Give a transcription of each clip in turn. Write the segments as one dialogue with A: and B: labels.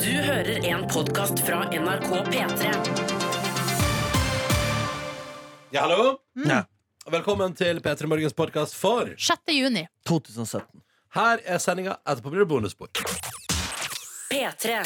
A: Du hører en podkast fra NRK P3.
B: Ja, hallo? Ja. Velkommen til P3 Morgens podkast for
C: 6. juni.
D: 2017.
B: Her er sendinga. Etterpå blir det bonusspor.
A: P3.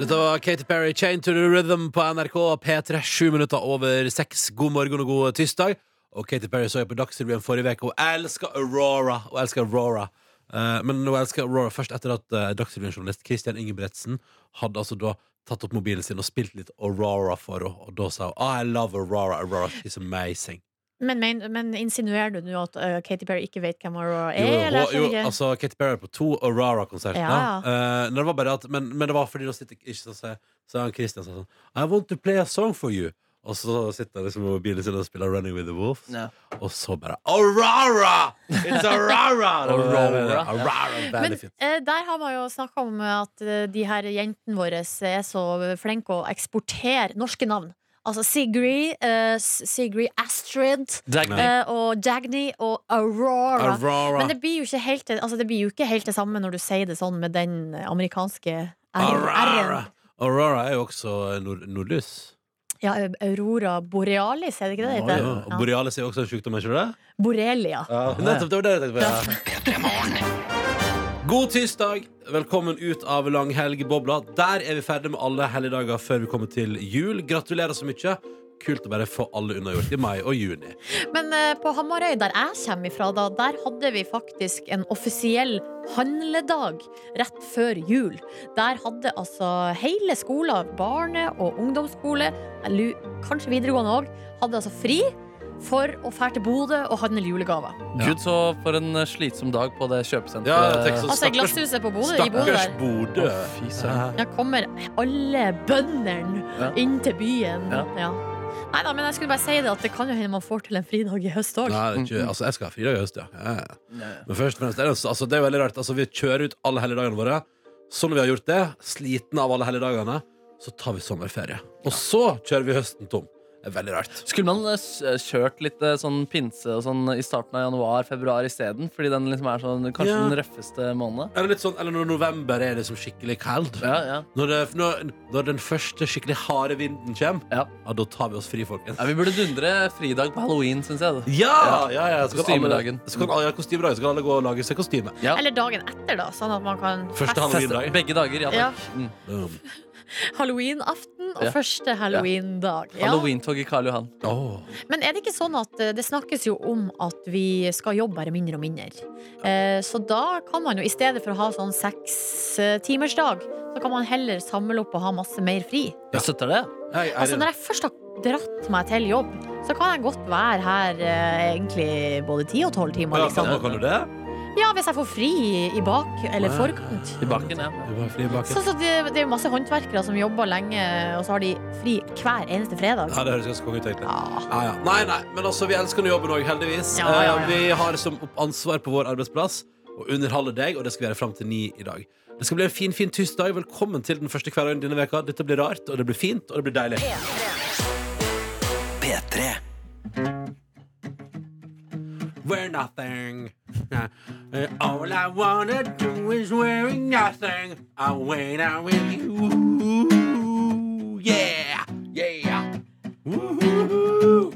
B: Dette var Katy Perry, 'Chain to the Rhythm' på NRK P3. Sju minutter over seks. God morgen og god tirsdag. Og Katy Perry så jeg på Dagsrevyen forrige uke. Hun elsker Aurora. Hun elsker Aurora. Eh, men hun elsker Aurora først etter at uh, Dagsrevyen-journalist Christian Ingebretsen hadde altså da tatt opp mobilen sin og spilt litt Aurora for henne. Og da sa hun 'I love Aurora. Aurora is amazing'.
C: Men, men, men insinuerer du nå at eh, Katy Perry ikke vet hvem Aurora
B: Jo,
C: er?
B: jo,
C: eller? Jeg
B: jo,
C: skjønner ikke.
B: altså Katy Perry på to Aurora-konserter.
C: Ja,
B: det var bare at, men, men det var fordi da sitter ikke så sier- så han Christian sånn I want to play a song for you. Og så sitter han liksom med mobilen sin og spiller Running with the Wolves.
D: Ja.
B: Og så bare Aurora! It's Aurora! Det var-
D: Aurora.
B: Aurora
C: men
B: veldig fint.
C: eh, der har man jo snakka om at eh, de her jentene våre er så flinke å eksportere norske navn. Altså Sigrid, eh, S- Sigrid Astrid
D: Dagny.
C: eh, og Dagny og Aurora.
B: Aurora.
C: Men det blir, jo ikke helt, det- altså det blir jo ikke helt det samme når du sier det sånn med den amerikanske
B: Aurora.
C: R-en.
B: Aurora er jo også nord nordlys.
C: Ja, Aurora borealis, er det ikke det det
B: Ja.
C: heter?
B: Og Borealis er jo også en sjukdom, er ikke det?
C: Borelia.
B: Nettopp, det var det jeg tenkte på. Ja. God tirsdag. Velkommen ut av langhelgbobla. Der er vi ferdig med alle helligdager før vi kommer til jul. Gratulerer så mye. Kult å bare få alle unnagjort i mai og juni.
C: Men eh, på Hamarøy, der jeg kommer ifra, da, der hadde vi faktisk en offisiell handledag rett før jul. Der hadde altså hele skolen, barne- og ungdomsskole, eller kanskje videregående òg, hadde altså fri for å fære til Bodø og handle julegaver.
D: Gud, så for en eh, slitsom dag på det kjøpesenteret.
B: Ja, Texas.
C: Altså glasshuset på Bodø, i Bodø
B: Stakkars
C: der.
B: Bodø.
D: Å, fy søren.
C: Der kommer alle bøndene
D: Ja.
C: inn til byen. Ja.
D: Ja.
C: Nei da, men jeg skulle bare si det at det kan jo hende man får til en fridag i høst òg.
B: Nei, det er ikke, altså, jeg skal ha fridag i høst, ja. Ja, ja. Men først og fremst, det er, jo- altså, det er jo veldig rart. Altså, vi kjører ut alle helligdagene våre. Sånn når vi har gjort det, sliten av alle helligdagene, så tar vi sommerferie. Og så kjører vi høsten tom. Det er veldig rart.
D: Skulle man eh, s- kjørt litt eh, sånn pinse og sånn i starten av januar-februar isteden? Fordi den liksom er sånn kanskje
B: Ja.
D: den røffeste måneden?
B: Eller, litt sånn, eller når november er liksom skikkelig kald.
D: Ja, ja.
B: Når, det, når, når den første skikkelig harde vinden kommer,
D: Ja.
B: ja, da tar vi oss fri, folkens.
D: ja, Vi burde dundre fridag på halloween, syns jeg.
B: Ja! ja, ja, så kan alle-
D: Kostymedagen.
B: Så kan, alle- ja, kostymedagen. Så kan alle gå og lage seg kostyme.
D: Ja.
C: Eller dagen etter, da, sånn at man kan
B: Første
C: feste-
B: halloween. Halloweendag.
D: Begge dager, ja
C: Ja.
D: takk. Mm.
B: Boom.
C: Halloweenaften og
D: Ja.
C: første halloweendag. Ja.
D: Halloween-tog i Karl Johan.
B: Åh.
C: Men er det ikke sånn at eh, det snakkes jo om at vi skal jobbe bare mindre og mindre? Eh, Så da kan man jo i stedet for å ha sånn sekstimersdag, så kan man heller samle opp og ha masse mer fri.
D: Jeg støtter det.
B: Jeg,
C: Altså
B: Eirin,
C: Når jeg først har dratt meg til jobb, så kan jeg godt være her eh, egentlig både ti og tolv timer,
B: ja, kan,
C: liksom.
B: kan du det?
C: Ja, hvis jeg får fri i- i bak eller
B: Wow.
C: forkant.
D: I baken, ja.
B: Du var fri i baken.
C: Sånn som det, det er jo masse håndverkere som jobber lenge, og så har de fri hver eneste fredag.
B: Ja, det høres ganske konge ut, egentlig.
C: Ja.
B: Ja, ja. Nei, nei, men altså, vi elsker nå jobben òg, heldigvis.
C: Ja, ja, ja.
B: Eh, Vi har som opp- ansvar på vår arbeidsplass å underholde deg, og det skal vi gjøre fram til ni i dag. Det skal bli en fin fin tirsdag. Velkommen til den første hverdagen denne veka Dette blir rart, og det blir fint, og det blir deilig. We're nothing. Uh, all I wanna do is wear nothing. I wait out with you. Yeah, yeah. Woohoo.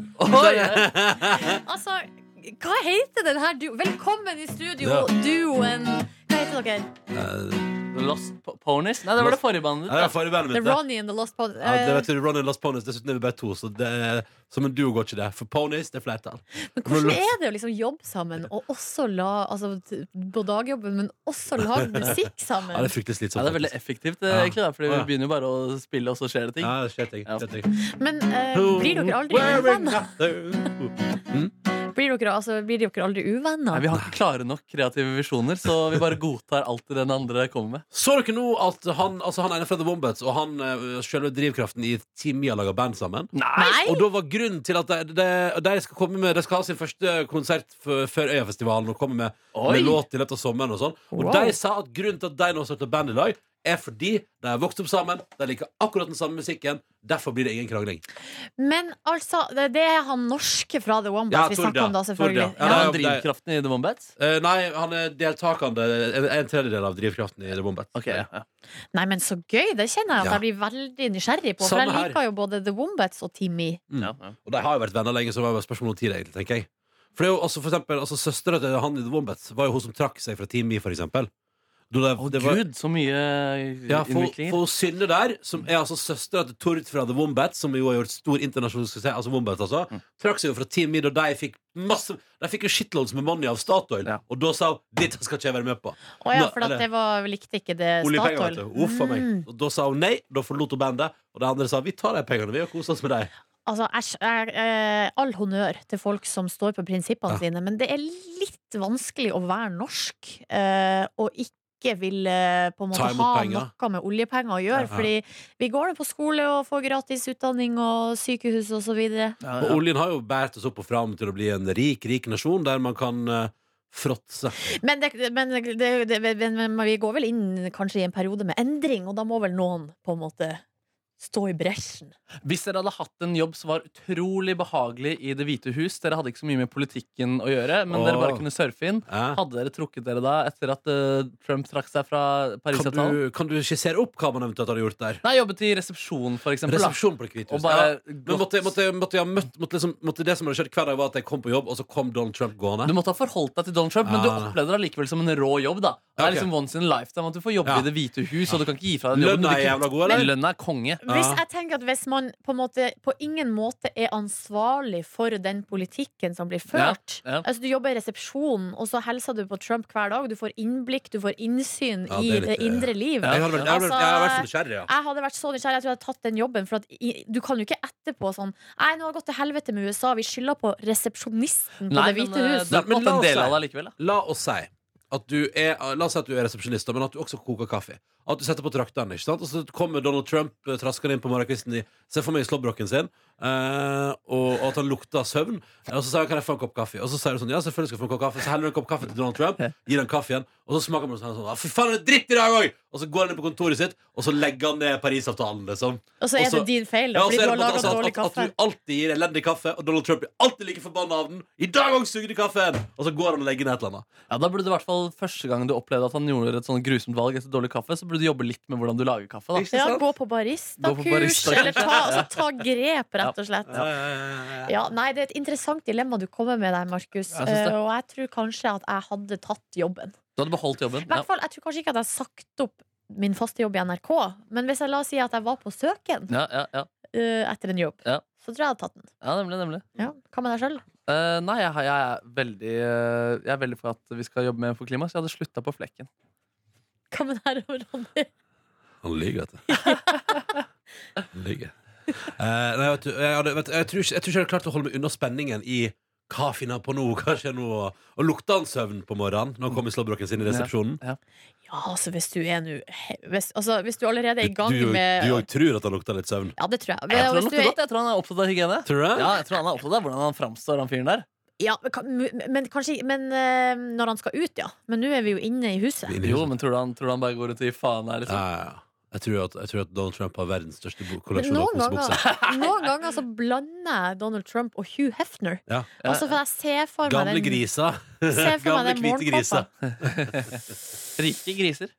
C: Altså, hva heter den her duoen? Velkommen i studio,
B: Ja.
C: duoen. Hva heter dere?
D: Lost Po- Ponies? Nei, det var det forrige bandet
B: Ja, det er
D: ditt. da.
B: forrige bandet
C: The eh,
B: mitt, det.
C: Ronny and the Lost Pod.
B: Ja, det vet du, Ronny Lost Ponies, Dessuten er vi bare to, så det, som en duo går ikke det. For ponies, det er flertall.
C: Men Eh, hvordan er det å liksom jobbe sammen, og også la Altså t- på dagjobben, men også lage musikk
B: Ja, det
C: sammen?
B: er fryktelig
D: Ja,
B: slitsomt.
D: det er veldig effektivt, eh,
B: Ja.
D: egentlig, da, fordi
B: Å,
D: vi
B: ja.
D: begynner jo bare å spille, og så skjer det ting.
B: Ja, det skjer ting.
D: Ja.
B: skjer ting.
C: Men eh, blir dere aldri
B: Wearing
C: uvenner?
B: nothing.
C: Blir dere, altså, blir dere aldri
D: Nei,
C: uvenner?
D: Vi har ikke klare nok kreative visjoner, så vi bare godtar alt det den andre kommer med.
B: Så dere nå at han, altså han ene fra The Wombats og han eh, selve drivkraften i Timmy har laga band sammen?
C: Nei?
B: Og da var grunnen til at de, de, de, skal, komme med, de skal ha sin første konsert f- før Øyafestivalen og komme med,
D: Oi.
B: med låt i løpet av sommeren. Og sånn Og
C: Wow.
B: de sa at grunnen til at de nå starter band i dag, er fordi de har vokst opp sammen, de liker akkurat den samme musikken. Derfor blir det ingen krangling.
C: Men altså, det, det er han norske fra The Wombats
B: Ja,
C: vi
B: Tord,
C: snakker
B: ja.
C: om da,
B: Tord,
C: selvfølgelig.
B: ja. Ja,
D: Er
C: Ja.
B: det er
D: han
B: jo- det er-
D: drivkraften i The Wombats?
B: Eh, nei, han er deltakende. En, en tredjedel av drivkraften i The Bombet.
D: Ok, ja, ja.
C: Nei, men så gøy! Det kjenner jeg at
B: Ja.
C: jeg blir veldig nysgjerrig på. For
B: Samme
C: jeg
B: her.
C: liker jo både The Wombats og Timmy.
D: ja, ja.
B: Og de har jo vært venner lenge, så det var jo bare spørsmål om tid, egentlig, tenker jeg. For det er jo også, for eksempel, altså, søstera til han i The Wombats var jo hun som trakk seg fra Team Me, for eksempel. Da det-
D: Å
B: det var-
D: gud, så mye
B: Ja, for,
D: innviklinger.
B: for Synne der, som er altså søstera til Tord fra The Wombats, som jo har gjort stor internasjonal suksess, altså Wombats, altså, trakk seg jo fra Team Me da de fikk masse De fikk jo shitloads med money av Statoil,
D: Ja.
B: og da sa hun 'Dette skal ikke jeg være med på'.
C: Å ja,
B: Nå,
C: for at
B: eller-
C: det var, likte ikke det
B: Oljepenger, vet
C: Statoil.
B: du. Uff a meg.
C: Mm.
B: Og da sa hun nei, da forlot hun bandet, og de andre sa 'Vi tar de pengene, vi, og koser oss med dem'.
C: Altså, æsj, jeg, eh, all honnør til folk som står på prinsippene
B: Ja.
C: sine, men det er litt vanskelig å være norsk eh, og ikke ville på en
B: Ta
C: måte ha
B: imot penger.
C: noe med oljepenger å gjøre,
B: Ja.
C: fordi vi går nå på skole og får gratis utdanning og sykehus og så videre.
D: Ja,
B: Og
D: ja.
B: oljen har jo båret oss opp og fram til å bli en rik, rik nasjon der man kan eh, fråtse.
C: Men, det, men, det, det, men, men vi går vel inn kanskje i en periode med endring, og da må vel noen på en måte stå i bresjen.
D: Hvis dere hadde hatt en jobb som var utrolig behagelig i Det hvite hus Dere hadde ikke så mye med politikken å gjøre, men dere bare
B: Åh.
D: kunne surfe inn.
B: Eh?
D: Hadde dere trukket dere da etter at eh, Trump trakk seg fra
B: Kan,
D: Parisavtalen?
B: du, kan du skissere opp hva man eventuelt hadde gjort der?
D: Nei, jobbet i resepsjon, for eksempel. da.
B: Resepsjon på Det hvite
D: Og
B: hus.
D: bare
B: Ja. Men måtte, måtte, måtte jeg ha møtt måtte liksom, måtte Det som hadde skjedd hver dag, var at jeg kom på jobb, og så kom Donald Trump gående.
D: Du måtte ha forholdt deg til Donald Trump, men du
B: Ja.
D: opplevde det allikevel som en rå jobb. da
B: Ja,
D: Det er
B: ok.
D: liksom once in a lifetime at du får jobbe
B: Ja.
D: i Det hvite hus, og du kan ikke gi fra deg jobben.
B: Lønna
D: du
B: er
D: kan-
B: jævla god, eller?
D: Lønna er konge.
C: Hvis
B: Ja.
C: jeg tenker at hvis man på, en måte, på ingen måte er ansvarlig for den politikken som blir ført
D: Ja, ja.
C: Altså Du jobber i resepsjonen, og så hilser du på Trump hver dag. Du får innblikk, du får innsyn
B: Ja,
C: i
B: det er litt,
C: det
B: eh,
C: indre liv.
B: Jeg hadde vært, jeg hadde vært, jeg hadde vært så nysgjerrig, ja.
C: Jeg hadde vært så nysgjerrig, jeg tror jeg hadde tatt den jobben. For at i, du kan jo ikke etterpå sånn Nei, nå har det gått til helvete med USA, vi skylder på resepsjonisten på
D: Nei,
C: Det hvite
D: men, eh,
C: hus.
D: det er på
B: Men
D: en
B: la
D: måte en
B: oss
D: del
B: si-
D: av det allikevel. da.
B: La oss si at du er La oss si at du er resepsjonist, da, men at du også koker kaffe. At du setter på traktene, ikke sant? Og så kommer Donald Trump eh, traskende inn på morgenkvisten i Se for meg slåbroken sin, eh, og, og at han lukter søvn. Og så sier han 'Kan jeg få en kopp kaffe?' Og så sier du sånn 'Ja, selvfølgelig skal du få en kopp kaffe'. Så heller du en kopp kaffe til Donald Trump, gir han kaffen, og så smaker man sånn, sånn «Ah, 'Fy faen, det er dritt i dag òg!' Og så går han inn på kontoret sitt, og så legger han ned Parisavtalen, liksom.
C: Og så er
B: også-
C: det din feil, da,
B: Ja, og så
C: fordi
B: er
C: du
B: det
C: har
B: på en måte
C: laga
B: altså at,
C: dårlig
B: at,
C: kaffe.
B: at du alltid gir elendig kaffe, og Donald Trump er alltid like forbanna av den. 'I dag òg sugde kaffen!' Og så går han og legger ned et eller annet.
D: Ja, da burde du i hvert fall Første gang du opplevde at han gjorde et sånn grusomt valg etter dårlig kaffe, så burde du jobbe litt med hvordan du lager kaffe. da
B: Ikke
C: Ja,
B: sant?
C: gå
D: Gå
C: på
D: på
C: baristakurs,
D: barista-
C: eller ta, altså, ta grep, rett og slett.
B: Ja, ja, ja, ja, ja.
C: Ja, nei, Det er et interessant dilemma du kommer med der, Markus.
D: Ja, jeg synes det.
C: Eh, og jeg tror kanskje at jeg hadde tatt jobben.
D: Du hadde beholdt jobben.
C: I
D: Ja.
C: hvert fall, Jeg tror kanskje ikke at jeg har sagt opp min faste jobb i NRK, men hvis jeg la oss si at jeg var på søken
D: Ja, ja, ja.
C: eh, etter en jobb,
D: Ja.
C: så tror jeg jeg hadde tatt den.
D: ja, nemlig. nemlig
C: Ja, Hva med deg sjøl?
D: Eh, Nei, jeg, har- jeg, er veldig, eh, jeg er veldig for at vi skal jobbe mer for klima, så jeg hadde slutta på flekken.
C: Hva med deg, Ronny?
B: Han lyver, vet du. Han lyver. Eh, nei, vet du, jeg, hadde, vet, du, jeg, tror ikke, jeg tror ikke jeg hadde klart å holde meg unna spenningen i hva finner han på nå? Hva skjer nå? Og lukta han søvn på morgenen når han kom i slåbroken sin i resepsjonen?
C: Ja, altså hvis du er nå he- hvis, altså, hvis du allerede er i gang
B: du,
C: med
B: du jo tror at han lukta litt søvn?
C: Ja, det tror jeg.
D: Jeg tror han
C: Hvis du
D: lukter
C: er-
D: godt, jeg tror han er opptatt av hygiene.
B: Tror du det?
D: Ja, jeg tror han er opptatt av hvordan han framstår, han fyren der.
C: ja, men kan- men kanskje Men eh, når han skal ut, ja. Men nå er vi jo inne i huset.
B: Inni
D: Jo,
B: huset.
D: men tror du han, tror du han bare går rundt og gir faen her, liksom?
B: ja, ja, ja. Jeg, tror at, jeg tror at Donald Trump har verdens største bo-
C: Men
B: kolleksjon av
C: noen
B: kosebukser.
C: ganger, noen ganger så blander jeg Donald Trump og Hugh Hefner.
B: Ja.
C: Altså for jeg ser for
B: Gamle
C: meg den
B: griser.
C: ser for
B: Gamle
C: meg den
B: hvite griser.
C: morgenkåpa.
D: Rike griser.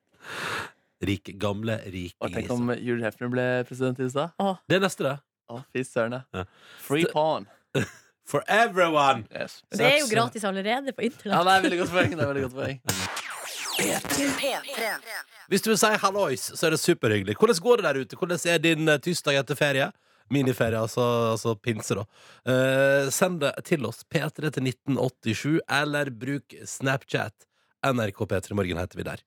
B: Rike, gamle, rike
D: Og tenk
B: griser.
D: om Hugh Hefner ble president i USA.
C: Åh,
B: Det er neste, det.
D: Å, fy søren. ja.
B: Ja.
D: Free pawn.
B: For everyone!
D: Yes.
C: Det er jo gratis allerede på
D: Ja,
C: internett.
D: det er veldig godt poeng. Det er veldig godt poeng.
B: Hvis du vil si hallois, så er det superhyggelig. Hvordan går det der ute? Hvordan er din eh, tirsdag etter ferie? Miniferie, altså, altså pinse, da. Eh, send det til oss. P3 til 1987, eller bruk Snapchat. NRK P3 Morgen heter vi der.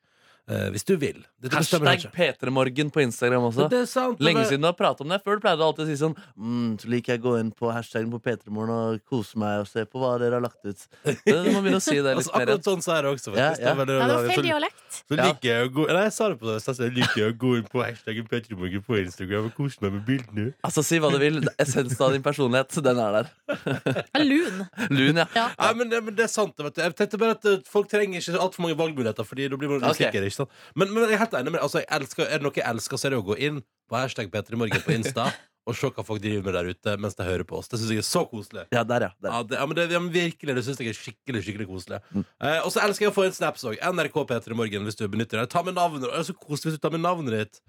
B: Eh, hvis du vil. Dette bestemmer du
D: Hashtag
B: ikke.
D: P3morgen på Instagram også.
B: Det er sant, og
D: Lenge
B: det-
D: siden du har pratet om det. Før du pleide du alltid å si sånn mm, Så liker jeg å gå inn på hashtaggen på P3morgen og kose meg og se på hva dere har lagt ut. Men Du må begynne å si det
B: Altså,
D: litt mer.
B: akkurat sånn sa jeg det også,
D: Ja,
B: faktisk. Det
D: ja.
B: var veldig
C: Ja, det var
B: rart.
C: feil
B: Så-
C: dialekt.
B: så
D: Ja.
B: liker jeg å gå Nei, jeg sa det på det. Så jeg liker jeg å gå inn på hashtaggen P3 Morgen på Instagram og kose meg med bildene.
D: Altså, Si hva du vil. Essensen av din personlighet, den er der.
C: Ja, Lun.
D: Lun, ja.
C: Ja.
B: Nei, men, det- men det er sant. Vet du. Jeg tenkte bare at eh, Folk trenger ikke altfor mange valgmuligheter, Fordi da blir man
D: Ok.
B: usikker. ikke ikke sant? Men, men jeg er helt enig med deg. altså, jeg elsker, Er det noe jeg elsker, så er det å gå inn på hashtag P3morgen på Insta og se hva folk driver med der ute mens de hører på oss. Det syns jeg er så koselig.
D: Ja, der, ja. Der.
B: Ja, det, ja, men det, ja, men virkelig, det syns jeg er skikkelig skikkelig koselig.
C: Mm.
B: Eh, og så elsker jeg å få inn snaps òg. NRK P3 Morgen, hvis du benytter det. Ta med navnet Det er så koselig hvis du tar med navnet ditt.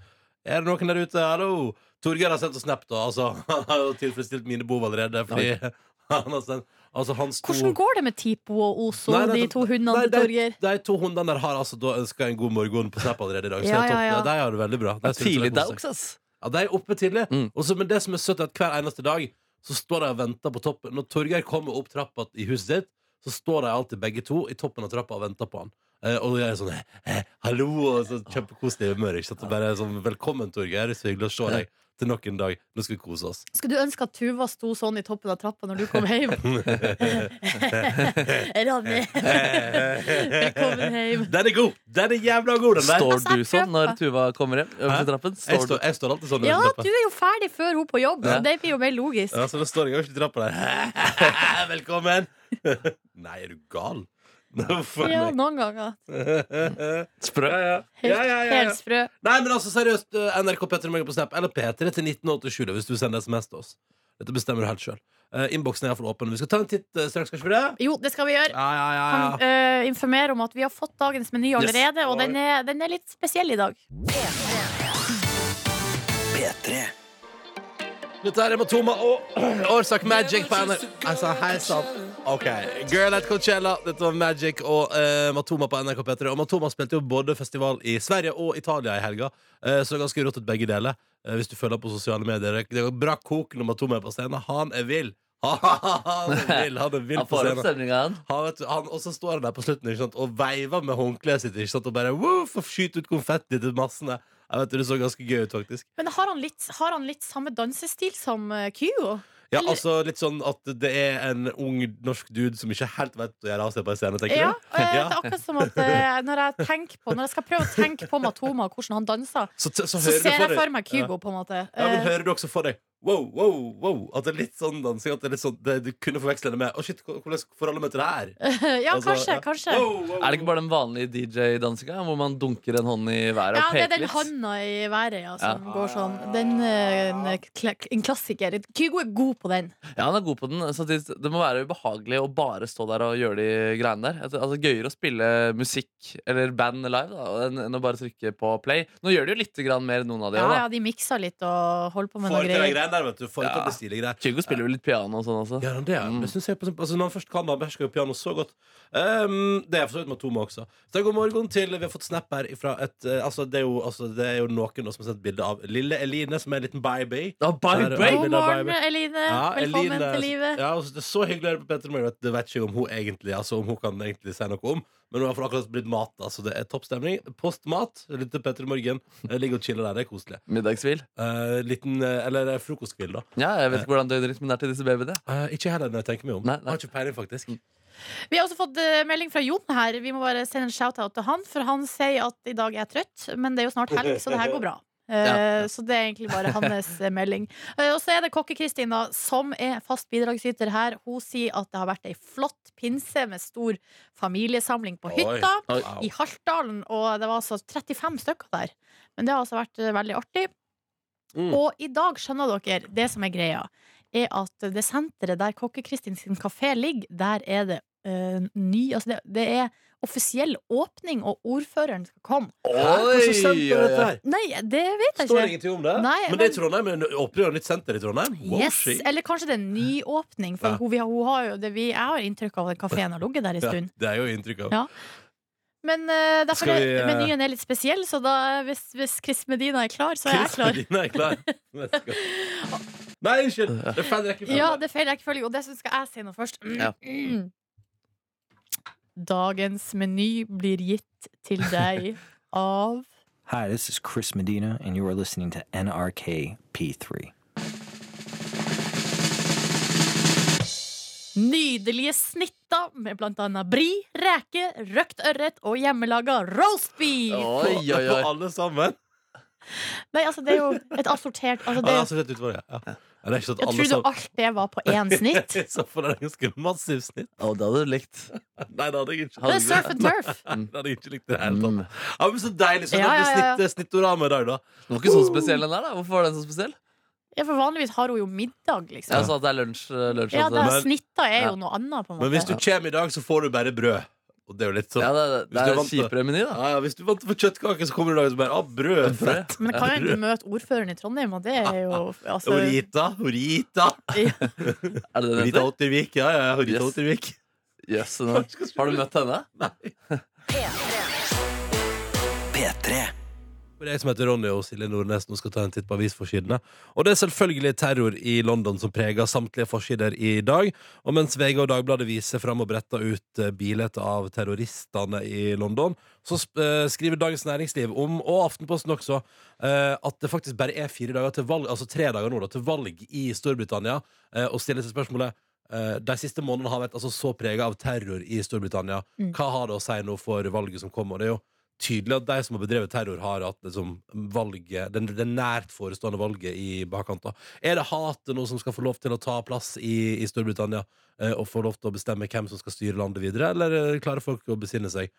B: Er det noen der ute? Hallo! Torgeir har sendt oss snap, da. Altså, han har jo tilfredsstilt mine behov allerede. Fordi han har sendt Altså, han sto
C: Hvordan går det med Tipo og Ozo,
B: Nei, nei,
C: de to hundene
B: Nei,
C: til Torgeir?
B: De, de to hundene der har altså da ønska en god morgen på snap allerede i dag. Så
C: Ja,
B: det er topp.
C: ja, ja.
B: De har det veldig bra. De synes det er
D: Tidlig
B: koselig.
D: dags, ass.
B: Ja, de er oppe tidlig.
D: Mm.
B: Og så- men det som er søtt, er at hver eneste dag så står de og venter på toppen. Når Torgeir kommer opp trappa i huset sitt, så står de alltid begge to i toppen av trappa og venter på han. Eh, og jeg er sånn eh, eh, Hallo! Og så Kjempekoselig humør. Ikke sant? Og Bare sånn Velkommen, Torgeir. Så hyggelig å se deg til nok en dag. Nå skal vi kose oss.
C: Skulle du ønske at Tuva sto sånn i toppen av trappa når du kom hjem? Ronny, velkommen hjem.
B: Den er god! Den er jævla god, den der.
D: Står
C: Altså, jeg
D: du sånn når
C: prøver.
D: Tuva kommer hjem? Over
B: Hæ?
D: til trappen?
B: jeg,
D: Står du
B: står, jeg står alltid sånn.
C: Ja,
B: under
C: du
B: trappa.
C: er jo ferdig før hun på jobb, så
D: Ja.
C: det blir jo mer logisk.
B: Ja, så da står jeg jo ikke i trappa der. Velkommen! Nei, er du gal? Hvorfor?
C: Ja, noen ganger.
D: sprø?
C: Helt, helt sprø.
B: Nei, men altså seriøst, eh, NRK Petter Morgen på Snap eller P3 til 1987 da, hvis du sender SMS til oss. Dette bestemmer du helt sjøl. Innboksen er iallfall åpen. Vi skal ta en titt eh, straks, skal vi ikke det?
C: Jo, det skal vi gjøre.
B: Ja, ja, ja,
C: Kan
B: ja.
C: eh, informere om at vi har fått dagens meny allerede, og
B: Oi.
C: den er, den er litt spesiell i dag.
B: Dette her er Matoma og Årsak Magic på NRK. Altså, hei sann. OK. Girl at Coachella. Dette var Magic og eh, Matoma på NRK P3. Og Matoma spilte jo både festival i Sverige og Italia i helga, eh, så det er ganske rått at begge deler. Eh, hvis du følger på sosiale medier. Det går bra kok når Matoma er på scenen. Han er vill. Han er vill, han er vill
D: Han
B: på
D: får opp
B: scenen.
D: stemninga, han.
B: Han, vet, du, han, og så står han der på slutten ikke sant, og veiver med håndkleet sitt ikke sant, og bare woof, og skyter ut konfetti til massene. Jeg vet, du, Det så ganske gøy ut, faktisk.
C: Men har han litt, har han litt samme dansestil som eh, Kygo?
B: Ja,
C: Eller-
B: altså Litt sånn at det er en ung norsk dude som ikke helt vet hva å gjøre av seg på en scene, tenker
C: Ja,
B: du?
C: eh,
B: Ja.
C: det er akkurat som at eh, når jeg tenker på Når jeg skal prøve å tenke på Matoma og hvordan han danser,
B: Så, t- så
C: så
B: hører du
C: ser jeg
B: deg-
C: for meg
B: Ja.
C: Kygo, på en måte.
B: Ja, men
C: Eh,
B: hører du også for deg wow, wow, wow, at det er litt sånn dansing? At det er litt sånn, det, du kunne forveksle det med Å, shit, hvordan forholder meg til det her?
C: Eh, Ja,
B: Altså,
C: kanskje,
B: ja.
C: kanskje.
B: Wow, wow,
D: Er det ikke bare den vanlige DJ-dansinga hvor man dunker en hånd i været
C: Ja,
D: og
C: det er
D: peker
C: den
D: litt?
C: handa i været ja, som går sånn. Den, eh, en, kla- en klassiker. Kygo er god på den.
D: Ja, han er god på den. Samtidig, det må være ubehagelig å bare stå der og gjøre de greiene der. Altså, altså, Gøyere å spille musikk eller band live da, enn- enn å bare trykke på play. Nå gjør de jo litt grann mer, noen av de
C: Ja,
D: òg.
C: ja, De mikser litt og holder på med
B: Får
C: noen
B: til de
C: greier.
B: greiene der, vet du. Får til
D: Ja.
B: å bli stilige greier.
D: Kygo spiller jo litt piano og sånn også.
B: Gjør han det? ja?
D: Mm.
B: Det synes jeg, på eksempel- altså, når han først kan han behersker jo piano så godt. Ehm, det er for så vidt med Toma også. Så god morgen til Vi har fått snap her fra et eh, altså, det, er jo, altså, det er jo noen da som har sett bilde av lille Eline, som er en liten baby.
D: Ja, bye,
B: Der, ja.
D: bye.
C: God
B: Baby, da,
C: morgen,
B: baby.
C: Eline.
B: Ja,
C: Velkommen
B: Eline- altså,
C: til livet.
B: Ja, og så- det er så hyggelig å høre på Petter Morgan. Det vet ikke om hun egentlig Altså om hun kan egentlig si noe om. Men hun har akkurat blitt mat, da, så det er topp stemning. Postmat. Lytt til Petter Morgen. Eh, Ligger og chiller der. Det er koselig.
D: Middagshvil.
B: Eh, liten eh, Eller eh, frokosthvil, da.
D: Ja, jeg vet ikke hvordan døgnrytmen er til disse babyene.
B: Eh, ikke heller når jeg tenker meg om.
D: Nei, nei.
B: Har ikke peiling, faktisk.
C: Vi har også fått eh, melding fra Jon her. Vi må bare sende en shout-out til han, for han sier at i dag er jeg trøtt, men det er jo snart helg, så det her går bra. Eh,
D: Ja.
C: Så det er egentlig bare hans eh, melding. Eh, og så er det Kokke-Kristin, da, som er fast bidragsyter her. Hun sier at det har vært ei flott pinse med stor familiesamling på
B: Oi.
C: hytta
D: Oi.
B: Wow.
C: i Haltdalen, og det var altså 35 stykker der. Men det har altså vært eh, veldig artig.
B: Mm.
C: Og i dag, skjønner dere, det som er greia, er at det senteret der Kokke-Kristin sin kafé ligger, der er det eh, ny Altså, det, det er offisiell åpning, og ordføreren skal komme.
B: Hvordan stemte dette her?
C: Nei, det vet jeg
B: Står det
C: ikke.
B: ingenting om det?
C: Nei,
B: men det er i
C: men-
B: Trondheim, men åpner jo et nytt senter i Trondheim? Wow,
C: Yes,
B: shit.
C: Eller kanskje det er en nyåpning, for
B: Ja.
C: hun, vi har- hun har jo det vi, jeg har inntrykk av at kafeen har ligget der en
B: Ja,
C: stund.
B: det er jo inntrykk av.
C: Ja. Men eh, derfor
B: Skal
C: er,
B: vi, eh,
C: menyen er litt spesiell, så da, hvis, hvis Chris Medina er klar, så er jeg
B: Chris
C: klar.
B: Medina er klar. Let's go. Nei, unnskyld! Det er feil rekkefølge.
C: Ja, det er feil rekkefølge, og det synes skal jeg si nå først. Mm.
D: Ja.
C: Dagens meny blir gitt til deg av
E: Hi, this is Chris Medina, and you are listening to NRK P3.
C: nydelige snitter med blant annet bri, reke, røkt ørret og hjemmelaga roast beef.
D: Oi, oi,
B: På
D: oi.
B: alle sammen.
C: Nei, altså, det er jo et assortert altså,
B: Ja,
C: det,
B: det er så rett utover, ja. Ja. Ja, det er ikke sånn at
C: Jeg
B: alle
C: trodde alt det var på én snitt.
B: I så fall er det ganske massivt snitt.
D: Å, det hadde du likt.
B: Nei, det hadde jeg ikke.
C: Det er surf and turf.
B: Det hadde jeg ikke likt i det hele
D: Mm.
B: tatt. Ja, men så deilig. Så
C: Ja,
B: det
C: ja,
B: blir
C: ja.
B: snitt, eh, snittorama i dag, da.
D: Den var ikke så spesiell, den der. da Hvorfor var den så spesiell?
C: Ja, for vanligvis har hun jo middag, liksom.
D: Jeg sa at det er lunsj. lunsj
C: Ja,
D: altså.
C: det
B: Men-
C: snitta er jo
D: Ja.
C: noe annet, på en
B: Men hvis du
C: måte.
B: kommer i dag, så får du bare brød. Og det er jo litt sånn
D: ja, det,
B: Hvis
D: er- det
B: du
D: er en
B: vant det.
D: kjipere meny, da.
B: ja, ja, Hvis du vant på kjøttkake, så kommer du i dag og så bare ah, brød.
D: Brød.
B: Fett.
C: Men kan jeg ikke møte ordføreren i Trondheim, og det er jo altså,
B: Horita. Horita.
D: Er det den
B: Horita
D: heter?
B: Ottervik. Ja, ja, ja, Horita
D: Yes.
B: Ottervik.
D: Yes, den er- har du møtt henne?
B: For Jeg som heter Ronny og Silje Nordnes nå skal ta en titt på avisforsidene. Og det er selvfølgelig terror i London som preger samtlige forsider i dag. Og mens VG og Dagbladet viser fram og bretter ut eh, bilder av terroristene i London, så sp- eh, skriver Dagens Næringsliv om, og Aftenposten også, eh, at det faktisk bare er fire dager til valg, altså tre dager nå da, til valg i Storbritannia, eh, og stiller seg spørsmålet eh, de siste månedene har vært altså, så prega av terror i Storbritannia.
C: Mm.
B: Hva har det å si nå for valget som kommer? Det er jo tydelig at de som har bedrevet terror, har hatt liksom, valget, den, den nært forestående valget i bakkanta. Er det hatet nå som skal få lov til å ta plass i, i Storbritannia, eh, og få lov til å bestemme hvem som skal styre landet videre, eller eh, klarer folk å besinne seg?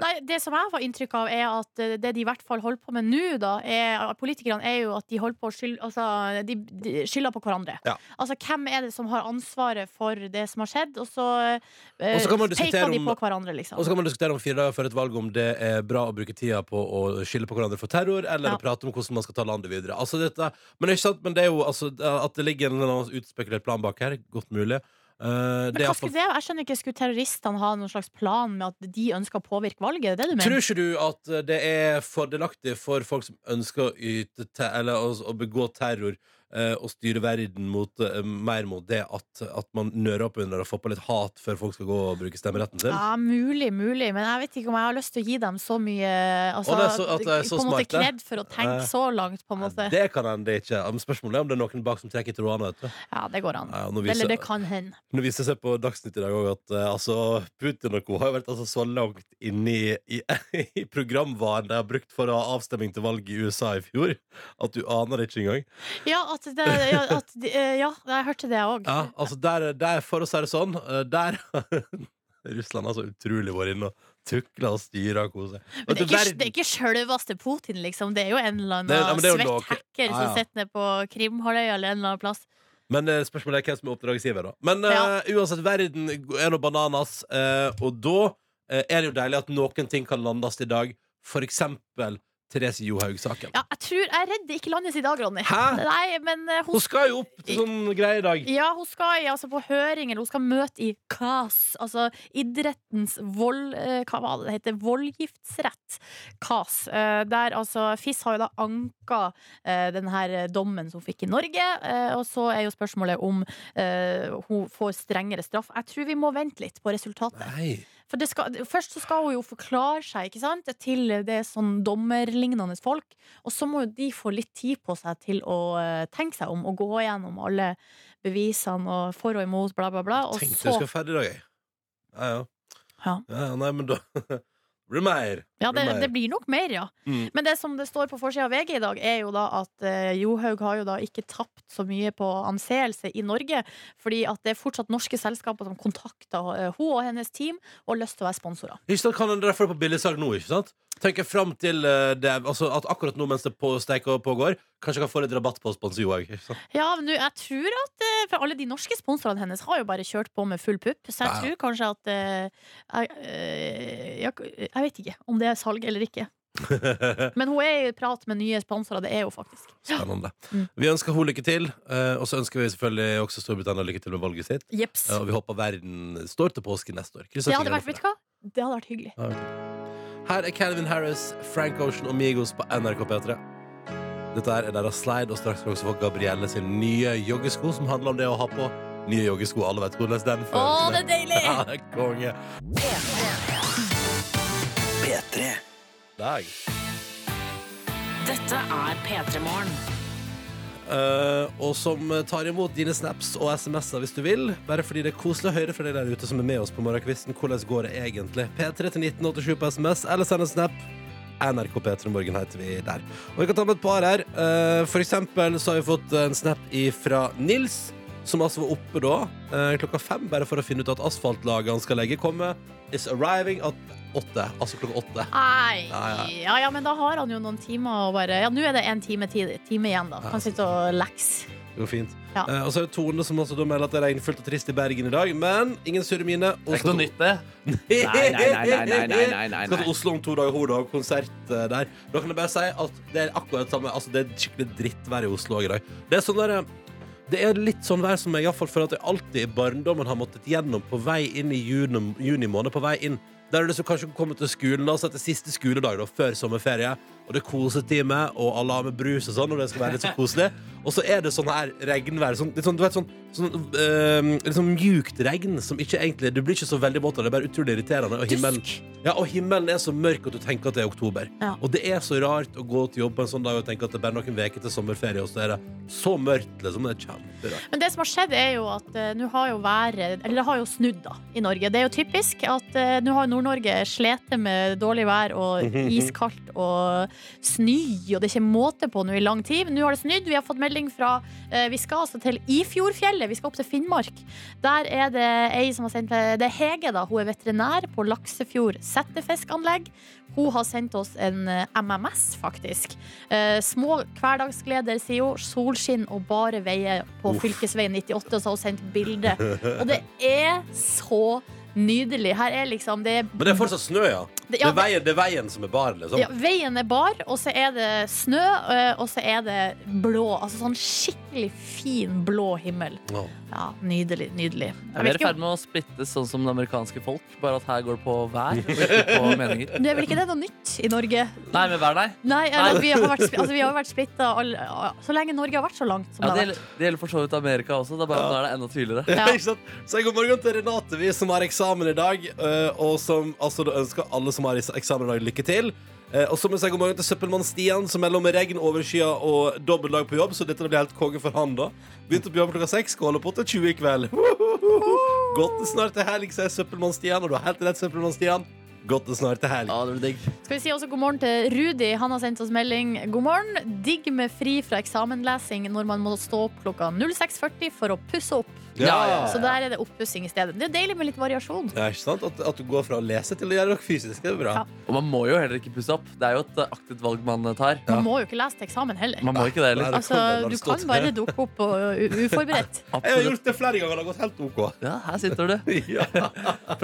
C: Nei, det som jeg har inntrykk av, er at eh, det de i hvert fall holder på med nå, da, er, politikerne, er jo at de holder på å skylde altså, de, de skylder på hverandre.
B: Ja.
C: Altså, hvem er det som har ansvaret for det som har skjedd, og så
B: Og så kan man
C: eh,
B: diskutere
C: peker de
B: om-
C: på hverandre, liksom.
B: Og så kan man diskutere om fire dager før et valg om det er bra å bruke tida på å skylde på hverandre for terror, eller
C: Ja.
B: å prate om hvordan man skal ta landet videre. Altså, dette, men, det er ikke sant, men det er jo altså, at det ligger en eller annen utspekulert plan bak her. Godt mulig. Eh, det
C: Men
B: er
C: hva
B: iallfall-
C: skulle det være? Jeg skjønner ikke, skulle terroristene ha noen slags plan med at de ønsker å påvirke valget? Er det det du
B: Tror
C: mener?
B: ikke du at eh, det er fordelaktig for folk som ønsker å, yte te eller å, å begå terror eh, og styre verden mot, eh, mer mot det at, at man nører opp under og får på litt hat før folk skal gå og bruke stemmeretten sin?
C: Ja, mulig, mulig, men jeg vet ikke om jeg har lyst til å gi dem så mye
B: Å,
C: altså,
B: det er så- at det er så
C: På en måte
B: smarte.
C: knedd for å tenke
B: Eh,
C: så langt, på en måte.
B: Det kan hende ikke. Ja, men Spørsmålet er om det er noen bak som trekker i trådene. vet du.
C: Ja, det går an.
B: Ja, nå viser-
C: Eller det kan hende.
B: Nå viser det seg på Dagsnytt i dag òg at eh, altså, Putin og co. har jo vært altså, så langt inne i, i, i programvaren de har brukt for å ha avstemning til valget i USA i fjor, at du aner det ikke engang.
C: Ja, at det, ja, at, de- eh, ja jeg hørte det òg.
B: Ja, altså der, der, for å si det sånn, eh, der Russland har så utrolig vært inne og tukla og styra og kosa seg.
C: Men det er,
B: Vet du,
C: ikke,
B: verden-
C: det er ikke sjølveste Putin, liksom. Det er jo en eller annen
B: Det er- ja, men det er jo
C: svett
B: noe-
C: hacker
B: Ja, ja.
C: som sitter nede på Krimhalvøya eller en eller annen plass.
B: Men eh, spørsmålet er hvem som er oppdragsgiver, da. Men
C: Ja.
B: eh, uansett, verden er nå bananas, eh, og da eh, er det jo deilig at noen ting kan landes i dag. For eksempel Therese Johaug-saken.
C: Ja, jeg tror Jeg er redd det ikke landes i dag, Ronny.
B: Hæ?
C: Nei, men eh, hun
B: Hun skal jo opp til sånn greie i dag.
C: Ja, hun skal i- altså, på høring, eller hun skal møte i KAS, altså idrettens vold... eh, Hva var det det heter? Voldgiftsrett. KAS. eh, Der altså FIS har jo da anka eh, den her dommen som hun fikk i Norge, eh, og så er jo spørsmålet om eh, hun får strengere straff. Jeg tror vi må vente litt på resultatet.
B: Nei.
C: For det skal, først så skal hun jo forklare seg ikke sant? til det sånn dommerlignende folk. Og så må jo de få litt tid på seg til å eh, tenke seg om og gå gjennom alle bevisene og for og imot, bla, bla, bla. Og
B: Tenkte
C: så
B: jeg skulle være ferdig i dag, jeg. Ja, ja.
C: Ja.
B: ja nei, men da blir det mer.
C: Ja, det,
B: blir mer.
C: det blir nok mer, ja.
B: Mm.
C: Men det som det står på forsida av VG i dag, er jo da at eh, Johaug har jo da ikke tapt så mye på anseelse i Norge, fordi at det er fortsatt norske selskaper som kontakter eh, hun og hennes team og har lyst til å være sponsorer.
B: Ikke sant, kan en derfor på billigsalg nå, ikke sant? Tenker frem til eh, det, altså at akkurat nå mens det på steik og pågår, kanskje jeg kan få litt rabatt på å sponse Johaug. ikke sant?
C: Ja, men du, jeg tror at eh, For alle de norske sponsorene hennes har jo bare kjørt på med full pupp, så jeg
B: Ja.
C: tror kanskje at eh, jeg, eh, jeg, jeg vet ikke om det er salg eller ikke. Men hun er i prat med nye sponsorer, det er hun faktisk. Ja.
B: Spennende.
C: Mm.
B: Vi ønsker henne lykke til, eh, og så ønsker vi selvfølgelig også Storbritannia lykke til med valget sitt.
C: Jeps.
B: Eh, Og vi håper verden står til påske neste år. Krysser
C: Det hadde
B: fingrene
C: vært,
B: for
C: vet du hva? Det hadde vært hyggelig.
B: det. Her er Calvin Harris, Frank Ocean og Migos på NRK P3. Dette her er deres slide, og straks skal vi også få Gabrielle sin nye joggesko, som handler om det å ha på nye joggesko. Alle vet hvordan den føles.
C: Å, det er deilig!
B: Ja, det er konge.
E: P3.
B: Dag.
A: Dette er P3 Morgen.
B: Eh, og som tar imot dine snaps og SMS-er hvis du vil. Bare fordi det er koselig å høre fra deg der ute som er med oss på morgenkvisten. Hvordan går det egentlig? P3 til 1987 på SMS eller send en snap. NRK P3 Morgen heter vi der. Og vi kan ta med et par her. Eh, For eksempel så har vi fått en snap fra Nils, som altså var oppe da eh, klokka fem, bare for å finne ut at asfaltlaget han skal legge, kommer. Is arriving at åtte. Altså klokka åtte.
C: Nei.
B: Ja,
C: Ja, ja, men da har han jo noen timer å bare Ja, nå er det en time, ti, time igjen, da. Kan sitte og lekse.
B: Det går fint.
C: Ja.
B: Eh, og så er det Tone som altså da melder at det er regnfullt og trist i Bergen i dag, men ingen surre mine.
D: Det er ikke noe nytt, det.
B: Nei,
D: nei, nei, nei, nei, nei, nei.
B: Skal til Oslo om to dager, hun har konsert eh, der. Da kan jeg bare si at det er akkurat det samme. Altså, det er skikkelig drittvær i Oslo også i dag. Det er sånn der, eh, det er litt sånn vær som jeg iallfall føler at jeg alltid i barndommen har måttet gjennom på vei inn i juni, juni måned. På vei inn. Der er det som kanskje kommer til skolen da, så etter siste skoledag da, før sommerferie, og det er kosetime, og alle har med brus og sånn, og det skal være litt så koselig. Og så er det sånn her regnvær. Sånn, litt sånn, du vet, sånn, sånn, eh, litt sånn mjukt regn som ikke egentlig Du blir ikke så veldig våt av det, det er bare utrolig irriterende. Og himmelen, ja, og himmelen er så mørk at du tenker at det er oktober.
C: Ja.
B: Og det er så rart å gå til jobb på en sånn dag og tenke at det er bare noen uker til sommerferie, og så er det så mørkt, liksom. Det er kjemperart.
C: Men det som har skjedd, er jo at eh, nå har jo været Eller det har jo snudd, da, i Norge. Det er jo typisk at eh, nå har Nord-Norge slitt med dårlig vær og iskaldt og snø, og det er ikke måte på nå i lang tid. Men nå har det snudd. Vi har fått melding fra eh, Vi skal altså til Ifjordfjellet. Vi skal opp til Finnmark. Der er det ei som har sendt meg Det er Hege, da. Hun er veterinær på Laksefjord settefiskanlegg. Hun har sendt oss en eh, MMS, faktisk. Eh, små hverdagsgleder, sier hun. Solskinn og bare veier på fylkesveien 98. Og så har hun sendt bilde. Og det er så nydelig. Her er liksom Det er,
B: Men det er fortsatt snø, ja.
C: det-
B: Det
C: ja,
B: er veien, det er veien som er bar, liksom.
C: ja, veien er bar, og så er det snø, eh, og så er det blå. Altså sånn skikkelig fin blå himmel.
B: Åh.
C: Ja, nydelig, nydelig.
D: Er
C: vet
D: vi i
C: ikke om-
D: ferd med å splittes sånn som det amerikanske folk? Bare at her går det på vær og ikke på meninger?
C: Nå er vel ikke det noe nytt i Norge?
D: Nei, men vær, nei.
C: Nei, eller, vi har vært, spli- altså, vi har jo vært splitta all, så lenge Norge har vært så langt som
D: Ja, det,
C: det har vært.
D: gjelder, det gjelder for så vidt Amerika også. Det er bare at nå er det enda tydeligere.
C: Ja.
B: Ikke sant? Så god morgen til Renate, vi som har eksamen i dag, eh, og som altså, da ønsker alle som har eksamen i dag, lykke til. Eh, Og så må jeg si god morgen til søppelmann Stian, som melder om regn, overskya og dobbelt dag på jobb, så dette blir helt konge for han, da. Begynte på jobb klokka seks, skal holde på til 20 i kveld. Godt det snart er helg, sier søppelmann Stian, og du har helt rett, søppelmann Stian. Godt det snart er helg.
D: Ja, det blir digg.
C: Skal vi si også god morgen til Rudi. Han har sendt oss melding. God morgen. Digg med fri fra eksamenlesing når man må stå opp klokka 06.40 for å pusse opp.
D: Ja, ja,
C: Så der er det oppussing i stedet. Det er deilig med litt variasjon.
B: Ja, ikke sant? At, at du går fra å lese til å gjøre noe fysisk, det er bra.
C: Ja.
D: Og man må jo heller ikke pusse opp. Det er jo et eh, aktivt valg man eh, tar.
C: Man må jo ikke lese til eksamen heller.
D: Man må ikke det
B: Nei,
D: heller.
B: det
C: Altså,
B: kan vel
C: du
B: bare stå
C: kan
B: til
C: bare
B: det.
C: dukke opp og uh, u- uforberedt.
B: Jeg har
D: Absolutt.
B: gjort det flere ganger, det har gått helt OK.
D: Ja, her sitter du.
B: Ja.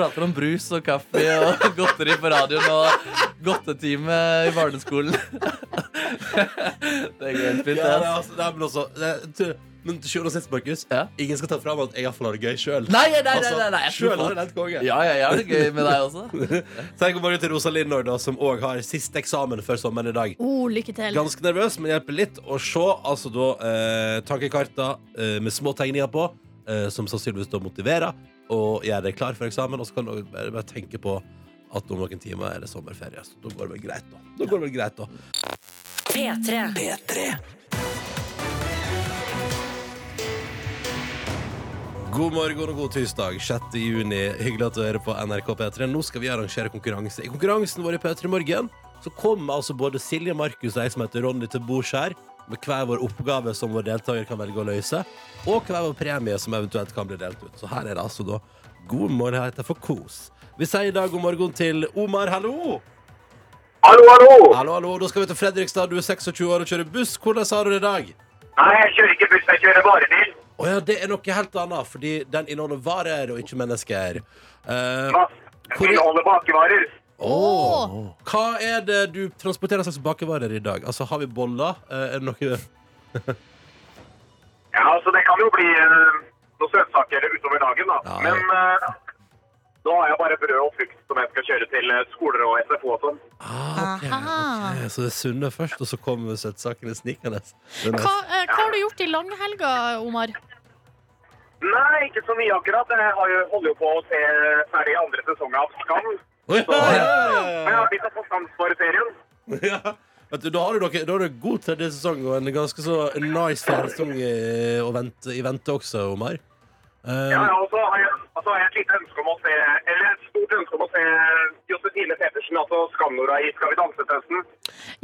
D: Prater om brus og kaffe og godteri på radioen og godtetime i barneskolen. Det går helt fint, det.
B: Ja, det, er
D: ass.
B: altså, det er vel også det, er- tror- Men til sjuende og sist, Markus,
D: Ja.
B: ingen skal ta fram at jeg iallfall har det gøy sjøl.
D: Nei, nei, nei,
B: Altså,
D: nei, nei, jeg tror
B: Sjøl har
D: folk-
B: det helt konge.
D: Ja, ja, jeg har det gøy med deg også.
B: Tenk om bare til Rosa Lindor, da, som òg har siste eksamen før sommeren i dag.
C: Oh, lykke til.
B: Ganske nervøs, men hjelper litt å se altså da eh, tankekarta eh, med små tegninger på, eh, som sannsynligvis da motiverer, og gjør deg klar for eksamen. Og så kan du også bare, bare tenke på at om noen timer er det sommerferie. Så da går det vel greit, da. Da går det vel greit, da.
A: P3.
B: God morgen og god tirsdag, 6. juni. Hyggelig at du hører på NRK P3. Nå skal vi arrangere konkurranse. I konkurransen vår i P3 Morgen så kommer altså både Silje, Markus og jeg som heter Ronny til bords her, med hver vår oppgave som vår deltaker kan velge å løse, og hver vår premie som eventuelt kan bli delt ut. Så her er det altså da God morgen her heter for kos. Vi sier i dag god morgen til Omar, hallo!
F: Hallo, hallo!
B: Hallo, hallo. Da skal vi til Fredrikstad. Du er 26 år og kjører buss. Hvordan har du det i dag?
F: Nei, jeg kjører ikke buss, jeg kjører varebil.
B: Å ja, det er noe helt annet, fordi den inneholder varer og ikke mennesker. Eh,
F: Pass.
B: Hvor-
F: Vil holde bakevarer.
B: Åh. Hva er det du transporterer slags bakevarer i dag? Altså, Har vi boller? Eh, Er det noe
F: Ja, altså det kan jo bli eh, noen søtsaker utover dagen, da.
B: Ja,
F: Men eh, nå har jeg bare brød og frukt som jeg skal kjøre til eh, skoler og SFO og sånn.
B: ah, ok,
C: Aha.
B: ok. Så det er sunne først, og så kommer søtsakene snikende. Det er nice.
C: Hva, eh, hva har du gjort i langhelga, Omar?
F: Nei, ikke så mye akkurat. Jeg har jo, holder jo på å se ferdig andre sesongen av Skam.
B: Oi,
F: Så
B: ja,
F: eh,
B: ja, ja,
F: jeg har blitt av Skam-serien.
B: ja. Ja. Vet du, Da har du dere, da har du god tredje sesong og en ganske så nice fjerde sesong i, å vente, i vente også, Omar. Eh,
F: Ja, ja, og så har jeg, Og så har jeg et lite ønske om å se, eller et stort ønske om å se Josefine Petersen, altså Skam-Nora i Skal vi danse-testen.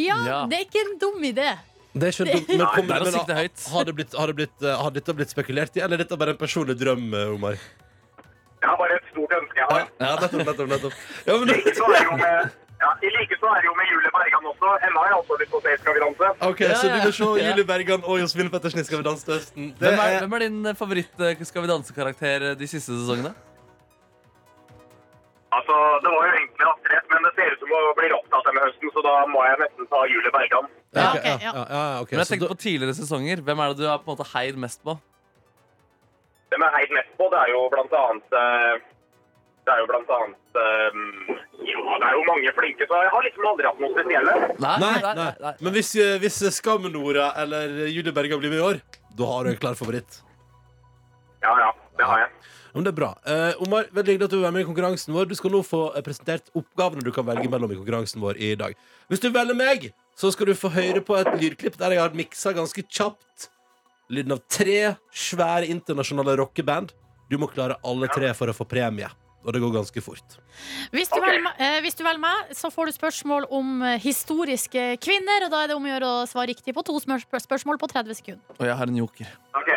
C: Ja,
D: Ja.
C: det er ikke en dum idé.
B: Det er ikke dumt, men, kom,
D: det er å
B: men
D: sikte høyt.
B: har, det blitt, har, det blitt, eh, har dette blitt spekulert i, eller er dette bare en personlig drøm, eh, Omar?
F: Jeg har bare et stort ønske jeg har.
B: Ja, nettopp, nettopp, nettopp. Ja, men,
F: I like så er det jo med, ja, i like så er det jo med Julie Bergan også. Henne har jeg altså også lyst til å se i Skal vi danse.
B: ok,
D: Ja,
B: Så du
D: ja.
B: vil se
D: Ja.
B: Julie Bergan og Josefine Pettersen i Skal vi danse til høsten? Det
D: Hvem er,
B: er,
D: hvem er din favoritt-Skal vi danse-karakter eh, de siste sesongene?
F: Altså, det var jo egentlig Astrid, S, men det ser ut som hun blir opptatt med høsten, så da må jeg nesten ta Julie Bergan.
C: Ja,
B: ok,
C: ok,
B: ja,
C: ja.
B: ja, ja, ok,
D: Men jeg
B: så
D: tenkte
B: da-
D: på tidligere sesonger. Hvem er det du har på en måte heid mest på?
F: Det med heid mest på, det er jo blant annet eh, Det er jo blant annet eh, Jo, det er jo mange flinke, så jeg har liksom aldri hatt noe spesielle.
B: Nei, nei, nei. Men hvis, eh, hvis Skam-Nora eller Julie Bergan blir med i år, da har du en klar favoritt.
F: Ja, ja, det har jeg.
B: Ja, Men det er bra. Eh, Omar, veldig hyggelig at du er med i konkurransen vår. Du skal nå få eh, presentert oppgavene du kan velge mellom i konkurransen vår i dag. Hvis du velger meg, så skal du få høre på et lydklipp der jeg har miksa ganske kjapt lyden av tre svære internasjonale rockeband. Du må klare alle tre for å få premie. Og det går ganske fort.
C: Hvis du,
F: Ok.
C: velger, meg- eh, hvis du velger meg, så får du spørsmål om eh, historiske kvinner. Og da er det om å gjøre å svare riktig på to smør- spør- spørsmål på 30 sekunder.
D: Og jeg har en joker.
F: OK.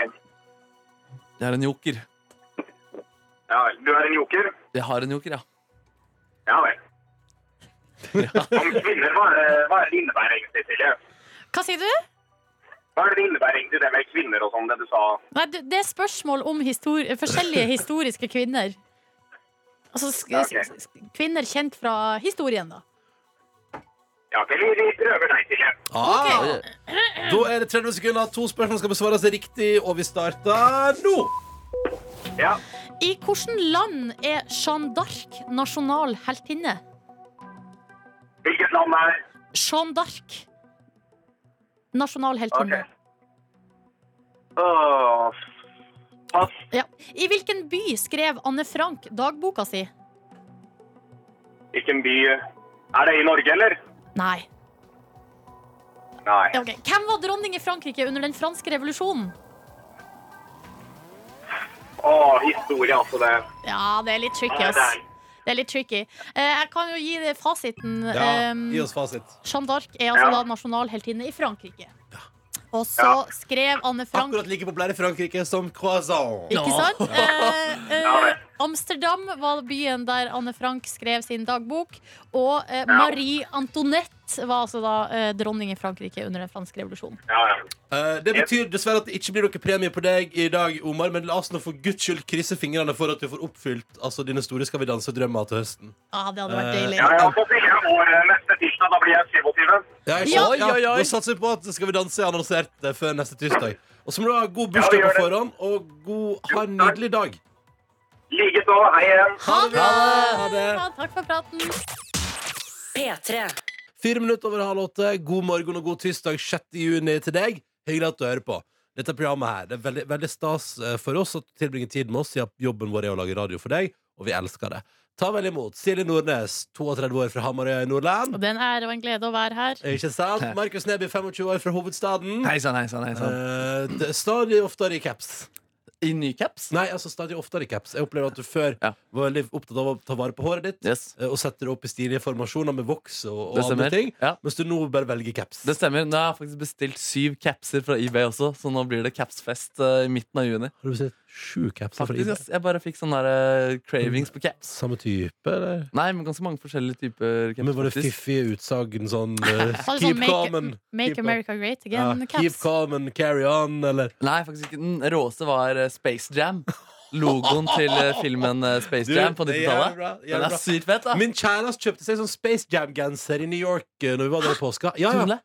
D: Jeg har en joker.
F: Ja vel. Du er en joker?
D: Jeg har en joker, ja.
F: Ja vel. Om kvinner, hva er det- hva er det det innebærer egentlig, Silje?
C: Hva sier du?
F: Hva er det det innebærer egentlig, det med kvinner og sånn, det du sa?
C: Nei, du- det er spørsmål om histor forskjellige historiske kvinner. Altså sk
F: Ja, ok.
C: sk sk kvinner kjent fra historien, da.
F: Ja, ok, vi, vi prøver deg, Silje.
B: Ah, Da er det 30 sekunder. To spørsmål skal besvares riktig, og vi starter nå.
F: Ja.
C: I hvilket land er Jeanne d'Arc nasjonal heltinne?
F: Hvilket land er
C: Jeanne d'Arc. Nasjonal
F: OK.
C: heltinne.
F: Åh, pass.
C: Ja. I hvilken by skrev Anne Frank dagboka si?
F: Hvilken by Er det i Norge, eller?
C: Nei.
F: Nei.
C: Ja, ok. Hvem var dronning i Frankrike under den franske revolusjonen?
F: Åh, historie, altså. Det
C: Ja, det er litt tricky,
F: Nei,
C: ass. Det er litt tricky. Eh, Jeg kan jo gi det fasiten.
B: Ja,
C: Um,
B: gi oss fasit.
C: Jeanne d'Arc er altså
F: Ja.
C: da nasjonalheltinne i Frankrike. Og så skrev Anne Frank
B: Akkurat like populær i Frankrike som croissant.
C: Ikke sant? Eh, eh,
F: Ja, det.
C: Amsterdam var byen der Anne Frank skrev sin dagbok. Og eh,
F: Ja.
C: Marie Antoinette var altså da eh, dronning i Frankrike under den franske revolusjonen.
F: Ja, ja.
B: Eh, Det betyr dessverre at det ikke blir noen premie på deg i dag, Omar. Men la oss nå for guds skyld krysse fingrene for at du får oppfylt altså, dine store Skal vi danse-drømmer til høsten.
C: Ja, Ah, det hadde vært
B: Eh,
C: deilig.
F: Ja, ja, så sier jeg år eh, neste tirsdag. Da blir jeg 27.
B: Ja, ikke
C: Ja.
B: sant?
D: Oi, oi, oi.
B: Da satser vi på at Skal vi danse er annonsert eh, før neste tirsdag. Og så må du ha god
F: Ja, vi
B: bursdag
F: gjør
B: på
F: det.
B: forhånd, og god, ha en
F: Jo, takk.
B: nydelig dag.
F: Likeså. Hei igjen.
B: Ha det bra! Ha det.
C: Ja, takk for praten.
A: P3.
B: Fire minutter over halv åtte. God morgen og god tirsdag 6. juni til deg. Hyggelig at du hører på. Dette programmet her, Det er veldig, veldig stas eh, for oss at du tilbringer tid med oss, siden jobben vår er å lage radio for deg, og vi elsker det. Ta vel imot Silje Nordnes, 32 år fra Hamarøy i Nordland.
C: Og det er en ære og en glede å være her.
B: Ikke sant? Markus Neby, 25 år fra hovedstaden.
D: Hei sann, hei sann. hei sann.
B: Eh, d- stadig oftere i caps.
D: Eh, I ny caps?
B: Nei, altså stadig oftere i caps. Jeg opplever at du før
D: Ja.
B: var veldig opptatt av å ta vare på håret ditt.
D: Yes.
B: eh, Og sette det opp i stilige formasjoner med voks og, og
D: Det
B: andre
D: stemmer.
B: ting.
D: Ja.
B: Mens du nå bare velger caps.
D: Det stemmer. Nå har jeg faktisk bestilt syv capser fra eBay også, så nå blir det capsfest eh, i midten av juni.
B: Har du sett sju capser fra
D: Faktisk,
B: eBay?
D: ass, Jeg bare fikk sånne der, eh, cravings på caps.
B: Samme type, eller?
D: Nei, men ganske mange forskjellige typer caps.
B: Men var det
D: faktisk. Altså,
B: fiffige utsagn sånn eh,
C: Sa du
B: Keep
C: sånn, make-
B: calm and
C: Make
B: keep on.
C: America Great
B: ja,
C: Again.
B: Keep
C: caps.
B: calm and carry on, eller
D: Nei, faktisk ikke. Den råeste var eh, Space Jam. Logoen til eh, filmen eh, Space
B: Du,
D: Jam på
B: det er jævlig
D: 90-tallet.
B: bra, jævlig
D: Den
B: bra.
D: er sykt fett, da.
B: Min kjæreste kjøpte seg sånn Space Jam-genser i New York eh, Når vi var der i påska. Ja, ja.
D: Tulle.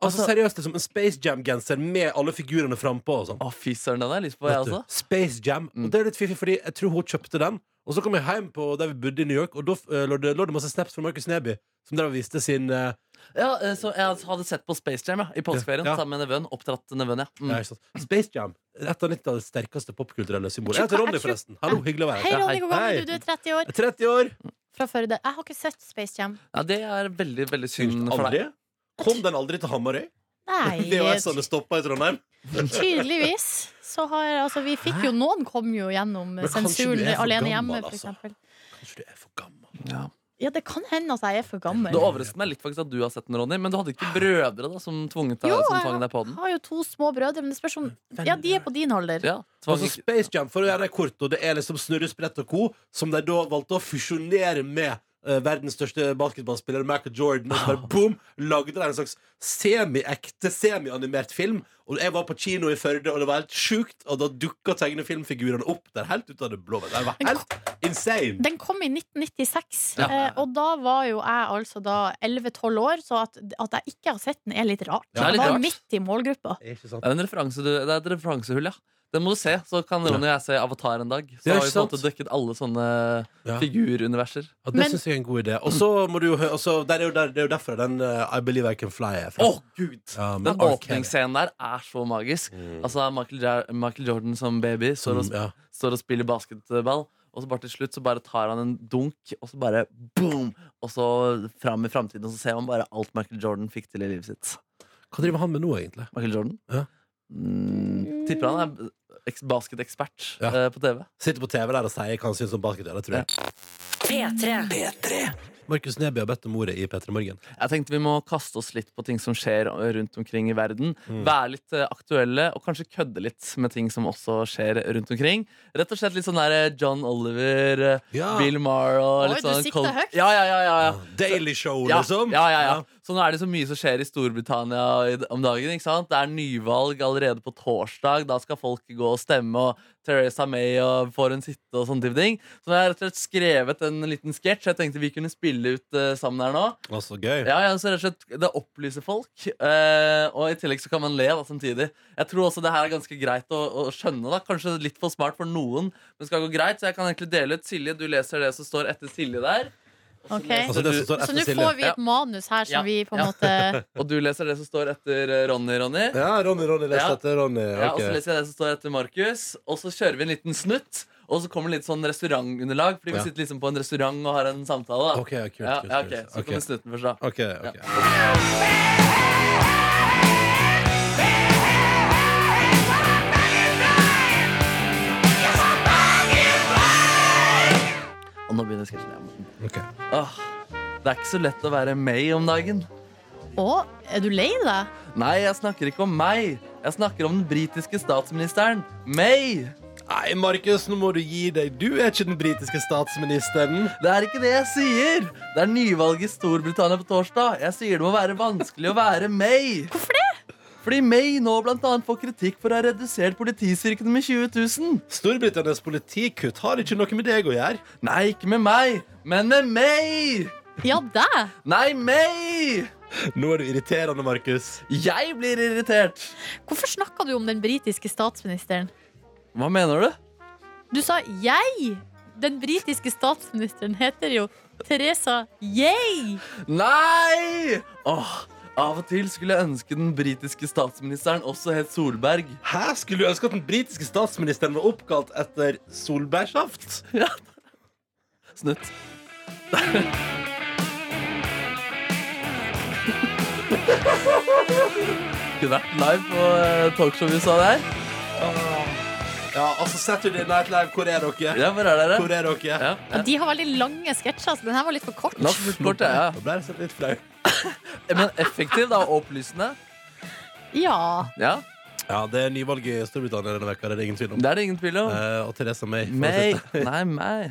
B: Altså
D: Altså-
B: Seriøst, liksom en Space Jam-genser med alle figurene frampå. Og sånn.
D: Å, altså? fy søren, den har jeg lyst på, jeg
B: Vet du,
D: også.
B: Space Jam.
D: Mm.
B: Og det er litt fiffig, fordi jeg tror hun kjøpte den. Og så kom jeg hjem på der vi bodde i New York, og da eh, lå det, lå det masse snaps fra Markus Neby. Som der viste sin eh,
D: Ja, eh, så jeg hadde sett på Space Jam ja, i påskeferien
B: Ja.
D: sammen med nevøen. Oppdratt nevøen, ja. Mm.
B: ja, ikke sant. Space Jam. Et av 90-tallets sterkeste popkulturelle symboler. Jeg heter Ronny, forresten. Hallo, hyggelig å være
C: Hei,
B: her.
D: Ja,
C: Ronny,
D: hei.
C: hvor gammel er
B: Hei.
C: du? Du er 30 år.
B: 30 år.
C: Fra Førde. Jeg har ikke sett Space Jam.
D: Ja, Det er veldig veldig synd for
B: Aldri?
D: deg.
B: Kom den aldri til Hamarøy?
C: Nei,
B: sånn VHS-ene stoppa i Trondheim.
C: tydeligvis. så har altså, vi fikk jo Noen kom jo gjennom
B: Men kanskje
C: sensuren
B: du er for
C: alene
B: gammel,
C: hjemme, for
B: altså.
C: eksempel.
B: Kanskje du er for gammel.
C: Ja, det kan hende at jeg er for gammel.
D: Det overrasket meg litt faktisk at du har sett den, Ronny, men du hadde ikke brødre da som tvunget deg,
C: Jo,
D: som
C: jeg
D: tvang deg på den?
C: har jo to små brødre, men det spørs om Ja, de er på din alder.
D: Ja, tvang
B: Altså
D: ikke-
B: Space Jam, for å gjøre det kort, og det er liksom Snurre, Sprett og co., som de da valgte å fusjonere med eh, verdens største basketballspiller, Michael Jordan, og så bare boom! Lagde de en slags semi-ekte, semi-animert film. Og jeg var på kino i Førde, og det var helt sjukt, og da dukka tegnefilmfigurene opp der helt ut av det blå. Det var helt insane!
C: Den kom i 1996,
D: Ja.
C: eh, og da var jo jeg altså da 11-12 år, så at, at jeg ikke har sett den, er litt rart.
D: Det er litt
C: jeg var
D: rart.
C: midt i målgruppa.
B: Det er ikke sant.
D: Det er, en referanse, du, det er et referansehull, ja. Den må du se, så kan Ronny og jeg se Avatar en dag. Så
B: Ja,
D: har
B: ikke
D: vi på en
B: sant?
D: måte dekket alle sånne
B: Ja.
D: figuruniverser.
B: Ja, det
C: Men-
B: syns jeg er en god idé. Og så må du jo hø- og så- der er jo der, Det er jo derfor den eh, I Believe I Can Fly er fra.
D: Å, gud!
B: Ja, men
D: Den
B: Arcade. Mm.
D: åpningsscenen der er så magisk. Altså, Michael, Ja- Michael Jordan som baby
B: Som-
D: står og,
B: Mm, ja.
D: står og spiller basketball, og så bare til slutt så bare tar han en dunk, og så bare boom! Og så fram i framtiden, og så ser man bare alt Michael Jordan fikk til i livet sitt.
B: Hva driver han med nå, egentlig?
D: Michael Jordan?
B: Ja.
D: Mm, tipper han er eks- basketekspert
B: Ja.
D: eh, på TV.
B: Sitter på TV der og sier hva han syns om basket. Ja, det tror jeg.
A: P3.
B: Markus Neby har bedt om ordet i P3 Morgen.
D: Jeg tenkte vi må kaste oss litt på ting som skjer rundt omkring i verden.
B: Mm.
D: Være litt eh, aktuelle, og kanskje kødde litt med ting som også skjer rundt omkring. Rett og slett litt sånn der eh, John Oliver, eh,
B: Ja.
D: Bill Maher og
C: Oi,
D: litt
C: du
D: sånn
C: sikter
D: Col-
C: høyt.
D: Ja, ja, ja, ja,
B: Ah,
D: ja.
B: Daily Show,
D: Ja,
B: liksom?
D: ja, ja, ja. Så nå er det så mye som skjer i Storbritannia i- om dagen. ikke sant? Det er nyvalg allerede på torsdag. Da skal folk gå og stemme, og Teresa May og får hun sitte og sånne type ting. Så jeg har rett og slett skrevet en liten sketsj. Jeg tenkte vi kunne spille ut eh, sammen her nå.
B: Ja. Å, så gøy.
D: Ja, ja, så rett og slett Det opplyser folk, eh, og i tillegg så kan man le da samtidig. Jeg tror også det her er ganske greit å, å skjønne. da Kanskje litt for smart for noen, men skal gå greit. Så jeg kan egentlig dele ut Silje. Du leser det som står etter Silje der. Og så
C: Ok.
D: leser
B: Altså det som
D: du-
B: står
C: Så nå
B: etter Silje.
C: får vi
D: Ja.
C: et manus her som
D: Ja.
C: vi på en
D: Ja.
C: måte
D: Og du leser det som står etter eh, Ronny, Ronny. Ja,
B: Ja, Ronny, Ronny leste
D: Ja.
B: etter Ronny.
D: og
B: ok.
D: så leser jeg det som står etter Markus. Og så kjører vi en liten snutt, og så kommer litt sånn restaurantunderlag. Fordi
B: Ja.
D: vi sitter liksom på en restaurant og har en samtale. da
B: Ok, ja, kult,
D: ja,
B: kult,
D: ja,
B: kult.
D: ok, Så
B: Ok.
D: kommer snutten først, da.
B: Ok, ok.
D: Og nå begynner sketsjen. igjen.
B: ok.
D: Åh, Det er ikke så lett å være meg om dagen.
C: Å, er du lei deg?
D: Nei, jeg snakker ikke om meg. Jeg snakker om den britiske statsministeren. May!
B: Nei, Markus, nå må du gi deg. Du er ikke den britiske statsministeren.
D: Det er ikke det jeg sier! Det er nyvalg i Storbritannia på torsdag. Jeg sier det må være vanskelig å være May. Hvorfor det? Fordi May nå blant annet får kritikk for å ha redusert politistyrkene med 20 000.
B: Storbritannias politikutt har ikke noe med deg å gjøre.
D: Nei, ikke med meg, men med May!
C: Ja, deg!
D: Nei, May!
B: Nå er du irriterende, Markus.
D: Jeg blir irritert.
C: Hvorfor snakka du om den britiske statsministeren?
D: Hva mener du?
C: Du sa 'jeg'. Den britiske statsministeren heter jo Teresa Yay.
D: Nei! Åh, av og til skulle jeg ønske den britiske statsministeren også het Solberg.
B: Hæ? Skulle du ønske at den britiske statsministeren var oppkalt etter solbærsaft?
D: Snutt. Kunne vært live på eh, talkshow i USA der.
B: Ja, altså, Saturday Night Live, hvor er dere?
D: Ja, hvor er dere?
B: Hvor er dere?
D: Ja.
C: Og de har veldig lange sketsjer, så den her var litt for kort.
D: La oss fort kort, ja.
B: Da ble jeg sett litt flau.
D: ja. Men effektiv da, og opplysende.
C: Ja.
D: Ja,
B: Ja, det er nyvalg i Storbritannia denne veka, det er det ingen tvil om.
D: Det er det ingen tvil om.
B: Eh, og Theresa May. får
D: May.
B: sitte.
D: Nei, meg.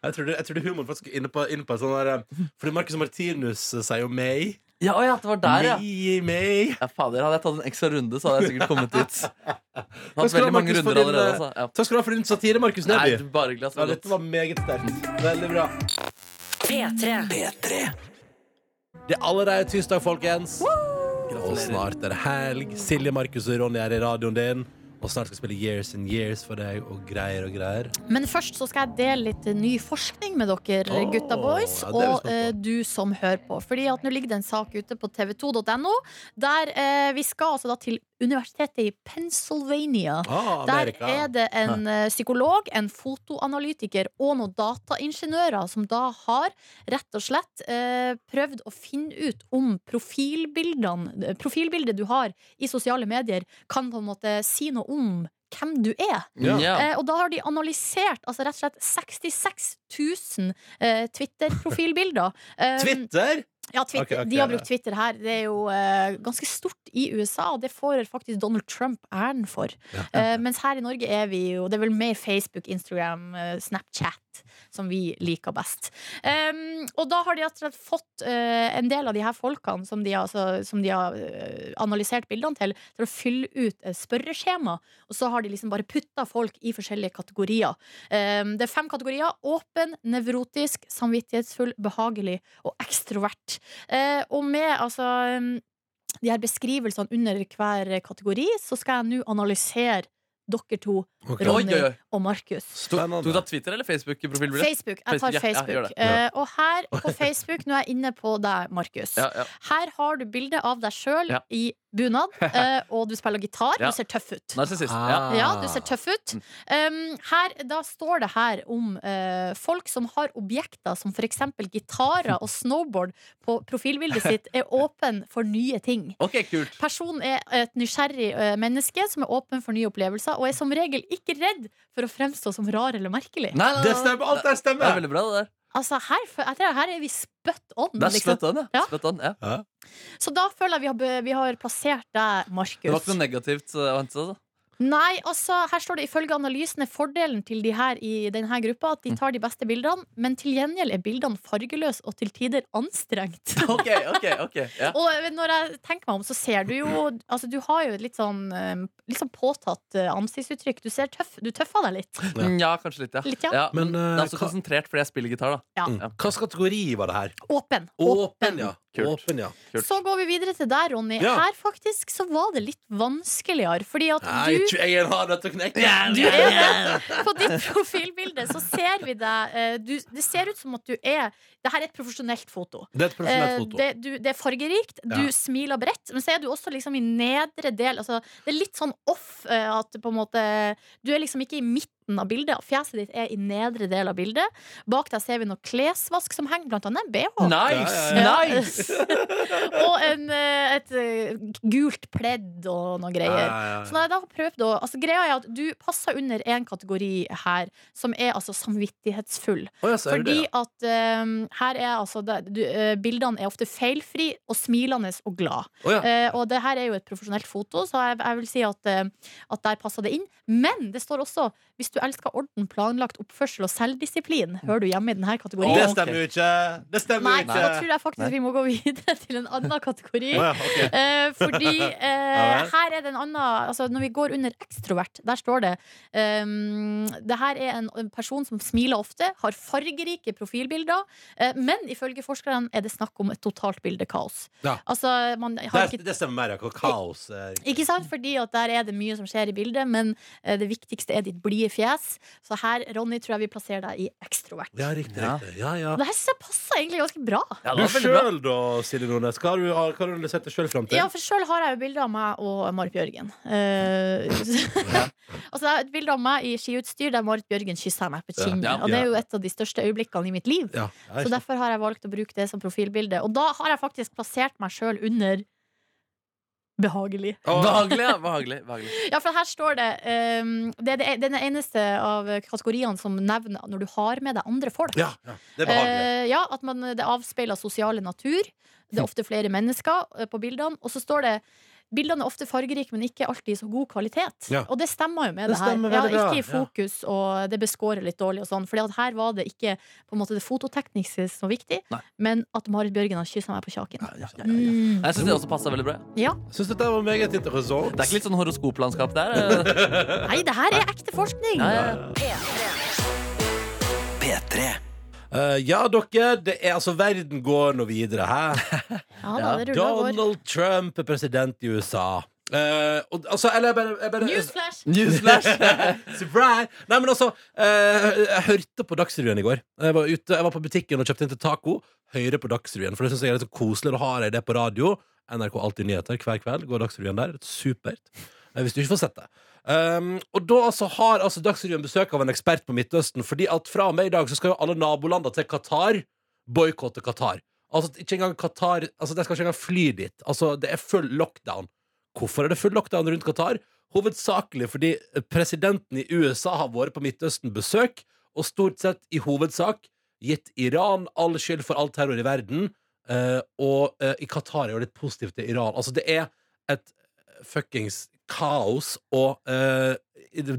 B: Jeg trodde, jeg trodde humoren faktisk er inne på, inne på en sånn der eh, Fordi Marcus Martinus eh, sier jo May.
D: Ja, å ja, det var der, ja.
B: May, May.
D: ja fader, hadde jeg tatt en ekstra runde, så hadde jeg sikkert kommet dit.
B: Takk
D: Hatt
B: skal du ha,
D: veldig mange
B: Markus, for
D: runder
B: din,
D: allerede,
B: eh,
D: altså. Ja.
B: Takk skal du ha for din satire, Markus
D: Nei,
B: Neby.
D: bare glass.
B: Ja, dette var meget sterkt. Veldig bra.
A: P3.
B: Det er allerede tirsdag, folkens. Og snart er det helg. Silje, Markus og Ronny er i radioen din. Og snart skal spille Years and Years for deg, og greier og greier.
C: Men først så skal jeg dele litt ny forskning med dere,
B: Åh,
C: gutta boys,
B: ja, det er vi
C: og
B: spent på.
C: eh, du som hører på. Fordi at nå ligger det en sak ute på tv2.no, der eh, vi skal altså da til universitetet i Pennsylvania.
B: Ah,
C: Der
B: Amerika.
C: er det en eh, psykolog, en fotoanalytiker og noen dataingeniører som da har rett og slett eh, prøvd å finne ut om profilbildene, eh, profilbildet du har i sosiale medier, kan på en måte si noe om hvem du er.
B: Ja.
D: Mm,
C: Eh, og da har de analysert altså rett og slett 66 000 eh, Twitter-profilbilder. Eh,
B: Twitter!
C: ja, Twitter.
B: Ok, ok,
C: De har
B: ja.
C: brukt Twitter her. Det er jo eh, ganske stort i USA, og det får faktisk Donald Trump æren for. Eh, mens her i Norge er vi jo Det er vel mer Facebook, Instagram, eh, Snapchat som vi liker best. Em, og da har de rett og slett fått eh, en del av de her folkene som de, har- altså, som de har eh, analysert bildene til, til å fylle ut eh, spørreskjema. Og så har de liksom bare putta folk i forskjellige kategorier. Em, det er fem kategorier. Åpen, nevrotisk, samvittighetsfull, behagelig og ekstrovert. Eh, og med altså um, de her beskrivelsene under hver kategori, så skal jeg nå analysere dere to,
B: Ok.
D: Oi,
C: Ronny
D: oi, oi.
C: og Markus.
B: Spennende.
D: Tok du da Twitter eller Facebook? i profilbildet?
C: Facebook. Jeg tar
D: Facebook, ja, ja, gjør
C: Facebook.
D: det.
B: Ja.
C: Eh, og her på Facebook, nå er jeg inne på deg, Markus.
D: Ja, ja.
C: Her har du bilde av deg sjøl
D: Ja.
C: i bunad, eh, og du spiller gitar.
D: Ja. Mm.
C: Du ser tøff ut.
D: Narsissist. Ja.
B: Ah.
C: Ja, du ser tøff ut. Um, her, da står det her om eh, folk som har objekter som f.eks. gitarer og snowboard på profilbildet sitt, er åpen for nye ting.
D: Ok, kult.
C: Personen er et nysgjerrig eh, menneske som er åpen for nye opplevelser, og er som regel ikke redd for å fremstå som rar eller merkelig.
D: Nei, nei,
B: Det
D: nei.
B: stemmer! Alt der
D: Det er
B: stemmer!
D: veldig bra, det der.
C: Altså, her, fø- jeg tror her er vi spøtt on.
D: Det er
C: liksom.
D: spot on, ja.
C: Ja.
D: Spot on, ja.
C: Så da føler jeg vi har, be- vi har plassert deg, Markus.
D: Det var ikke noe negativt eh, å hente. Altså.
C: Nei, altså, her står det ifølge analysen er fordelen til de her i denne gruppa
D: Mm.
C: at de tar de beste bildene, men til gjengjeld er bildene fargeløse og til tider anstrengt.
D: Ok, ok, ok ja.
C: Og når jeg tenker meg om, så ser du jo Altså, du har jo et litt sånn, eh, litt sånn påtatt eh, ansiktsuttrykk. Du ser tøff Du tøffer deg litt.
B: Ja.
D: Mm, ja, kanskje litt, ja.
C: Litt, ja.
B: Men,
D: men,
B: eh,
D: det er også
B: hva-
D: konsentrert fordi jeg spiller gitar, da.
B: Hvilken kategori var det her?
C: Åpen.
B: Mm. Åpen, ja.
D: Kult.
B: Åpen, ja.
D: Kult.
C: Så går vi videre til deg, Ronny.
B: Ja.
C: Her faktisk så var det litt vanskeligere, fordi at
B: Nei,
C: du
B: jeg tror jeg er en hard nøtt å knekke.
C: Du er det. På ditt profilbilde så ser vi deg eh, du, Det ser ut som at du er Det her er et profesjonelt foto.
B: Det er et
C: Eh,
B: profesjonelt foto.
C: Det, du, det er fargerikt, du
B: Ja.
C: smiler bredt, men så er du også liksom i nedre del altså, Det er litt sånn off eh, at på en måte Du er liksom ikke i midten av bildet. Fjeset ditt er i nedre del av bildet. Bak deg ser vi noe klesvask som henger, blant annet en bh.
D: Nice!
C: Ja.
D: nice
C: og en, eh, et eh, gult pledd og
B: Ja,
C: noe greier.
B: ja, ja.
C: Så nei, da har jeg prøvd å altså, Greia er at du passer under en kategori her, som er altså samvittighetsfull.
B: Å, ja, så er du det,
C: Fordi
B: ja.
C: at eh, her er altså det, du, eh, Bildene er ofte feilfri og smilende og glad.
B: Å, ja.
C: Eh, og det her er jo et profesjonelt foto, så jeg, jeg vil si at, eh, at der passer det inn. Men det står også hvis du elsker orden, planlagt oppførsel og selvdisiplin, hører du hjemme i denne kategorien.
B: Det
D: Å, ok.
B: stemmer jo ikke! Det stemmer
C: Nei,
B: jo
C: for da tror
B: ikke!
C: jeg faktisk vi må gå videre til en annen kategori.
B: Å, ja, ok.
C: Eh, fordi eh,
B: Ja vel.
C: her er det en annen altså Når vi går under ekstrovert, der står det um, Det her er en, en person som smiler ofte, har fargerike profilbilder, eh, men ifølge forskerne er det snakk om et totalt bildekaos.
B: Ja.
C: Altså, man har
B: Det,
C: ikke
B: det stemmer mer, ja. Kaos. eh,
C: ikke sant? Fordi at der er det mye som skjer i bildet, men eh, det viktigste er ditt blide fjes. Så her, Ronny, tror jeg vi plasserer deg i ekstrovert.
B: Ja, riktig.
D: Ja.
B: riktig. Ja, ja.
C: Og Det her synes jeg passer egentlig ganske bra.
D: ja, det
B: Du
D: var veldig bra.
B: sjøl, da, Silje Nordnes. Hva har du, hva har du analysert deg sjøl fram til?
C: Ja, for sjøl har jeg jo bilde av meg og Marit Bjørgen. Eh, altså, det er et bilde av meg i skiutstyr der Marit Bjørgen kysser meg på kinnet.
D: Ja.
C: Og det er jo et av de største øyeblikkene i mitt liv.
B: Ja, jeg
C: Så
B: skjønner.
C: derfor har jeg valgt å bruke det som profilbilde. Og da har jeg faktisk plassert meg sjøl under behagelig.
D: Behagelig, ja. Behagelig, behagelig.
C: Ja, for her står det ehm, Det er det- det er den eneste av kategoriene som nevner når du har med deg andre folk.
B: ja, ja, det er behagelig.
C: Eh, ja, at man, det avspeiler sosiale natur. Det er ofte flere mennesker eh, på bildene. Og så står det Bildene er ofte fargerike, men ikke alltid i så god kvalitet.
B: Ja.
C: Og det stemmer jo med
B: Det
C: det, her.
B: stemmer
C: Ja,
B: veldig bra,
C: ikke i fokus, og det beskårer litt dårlig. og sånn Fordi at her var det ikke på en måte, det fototekniske som var viktig,
D: Nei.
C: men at Marit Bjørgen har kyssa meg på kjaken.
D: Ja, ja, ja, ja.
C: Mm.
D: Jeg syns det også passa veldig bra.
C: Ja.
B: Syns Eh, dette var meget interessant.
D: Det er ikke litt sånn horoskoplandskap der. eh.
C: Nei, det her er ekte forskning!
D: Ja, ja, ja.
E: P3.
B: Eh, ja, dere, det er altså verden går nå videre, hæ?
C: Ja da, det ruller og går.
B: Donald Trump er president i USA. Eh, og, altså, eller jeg bare, jeg bare
C: Newsflash!
D: Newsflash!
B: Surprise! Nei, men altså, eh, jeg hørte på Dagsrevyen i går. Jeg var, ute, jeg var på butikken og kjøpte inn til taco. Høyre på Dagsrevyen, for det syns jeg er litt så koselig. Da har jeg det på radio. NRK Alltid Nyheter hver kveld. Går Dagsrevyen der. Supert. Eh, Hvis du ikke får sett det. Um, og da altså har altså Dagsrevyen besøk av en ekspert på Midtøsten, fordi at fra og med i dag så skal jo alle nabolandene til Qatar boikotte Qatar. Altså ikke engang Qatar Altså De skal ikke engang fly dit. Altså Det er full lockdown. Hvorfor er det full lockdown rundt Qatar? Hovedsakelig fordi presidenten i USA har vært på Midtøsten-besøk, og stort sett i hovedsak gitt Iran all skyld for all terror i verden. eh, og eh, i Qatar er jo litt positivt til Iran. Altså, det er et fuckings kaos, og eh,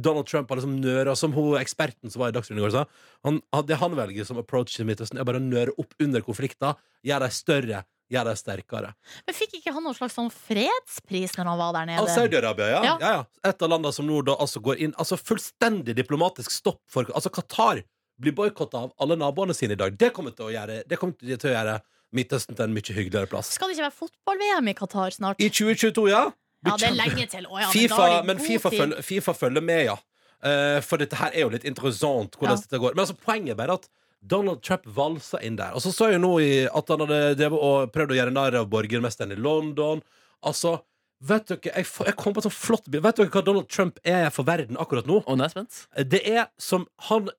B: Donald Trump har liksom nøra Som hun eksperten som var i Dagsrevyen i går, sa. Han, han- det han velger som approach til Midtøsten, er bare å nøre opp under konflikter, gjøre dem større, gjøre dem sterkere.
C: Men fikk ikke han noen slags sånn fredspris når han var
B: Av
C: der nede?
B: Saudi-Arabia, ja.
C: Ja.
B: Ja. ja. Et av landene som nå da altså går inn Altså fullstendig diplomatisk stopp for Altså Qatar blir boikotta av alle naboene sine i dag. Det kommer til å gjøre, det kommer til å gjøre Midtøsten til en mye hyggeligere plass.
C: Skal det ikke være fotball-VM i Qatar snart?
B: I 2022, ja.
C: Ja, det er lenge til. Å, ja, men da
B: FIFA,
C: har de
B: men
C: god
B: FIFA,
C: tid.
B: følger, FIFA følger med, ja. Eh, for dette her er jo litt interessant. Hvordan
C: Ja.
B: dette går Men altså poenget er bare at Donald Trump valsa inn der. Og så så jeg nå i, at han hadde drevet og prøvd å gjøre narr av borgermesteren i London. Altså, vet dere Jeg, f- jeg kom på et sånt flott bilde. Vet dere hva Donald Trump er for verden akkurat nå?
D: Å, nå er jeg spent.
B: Det er som han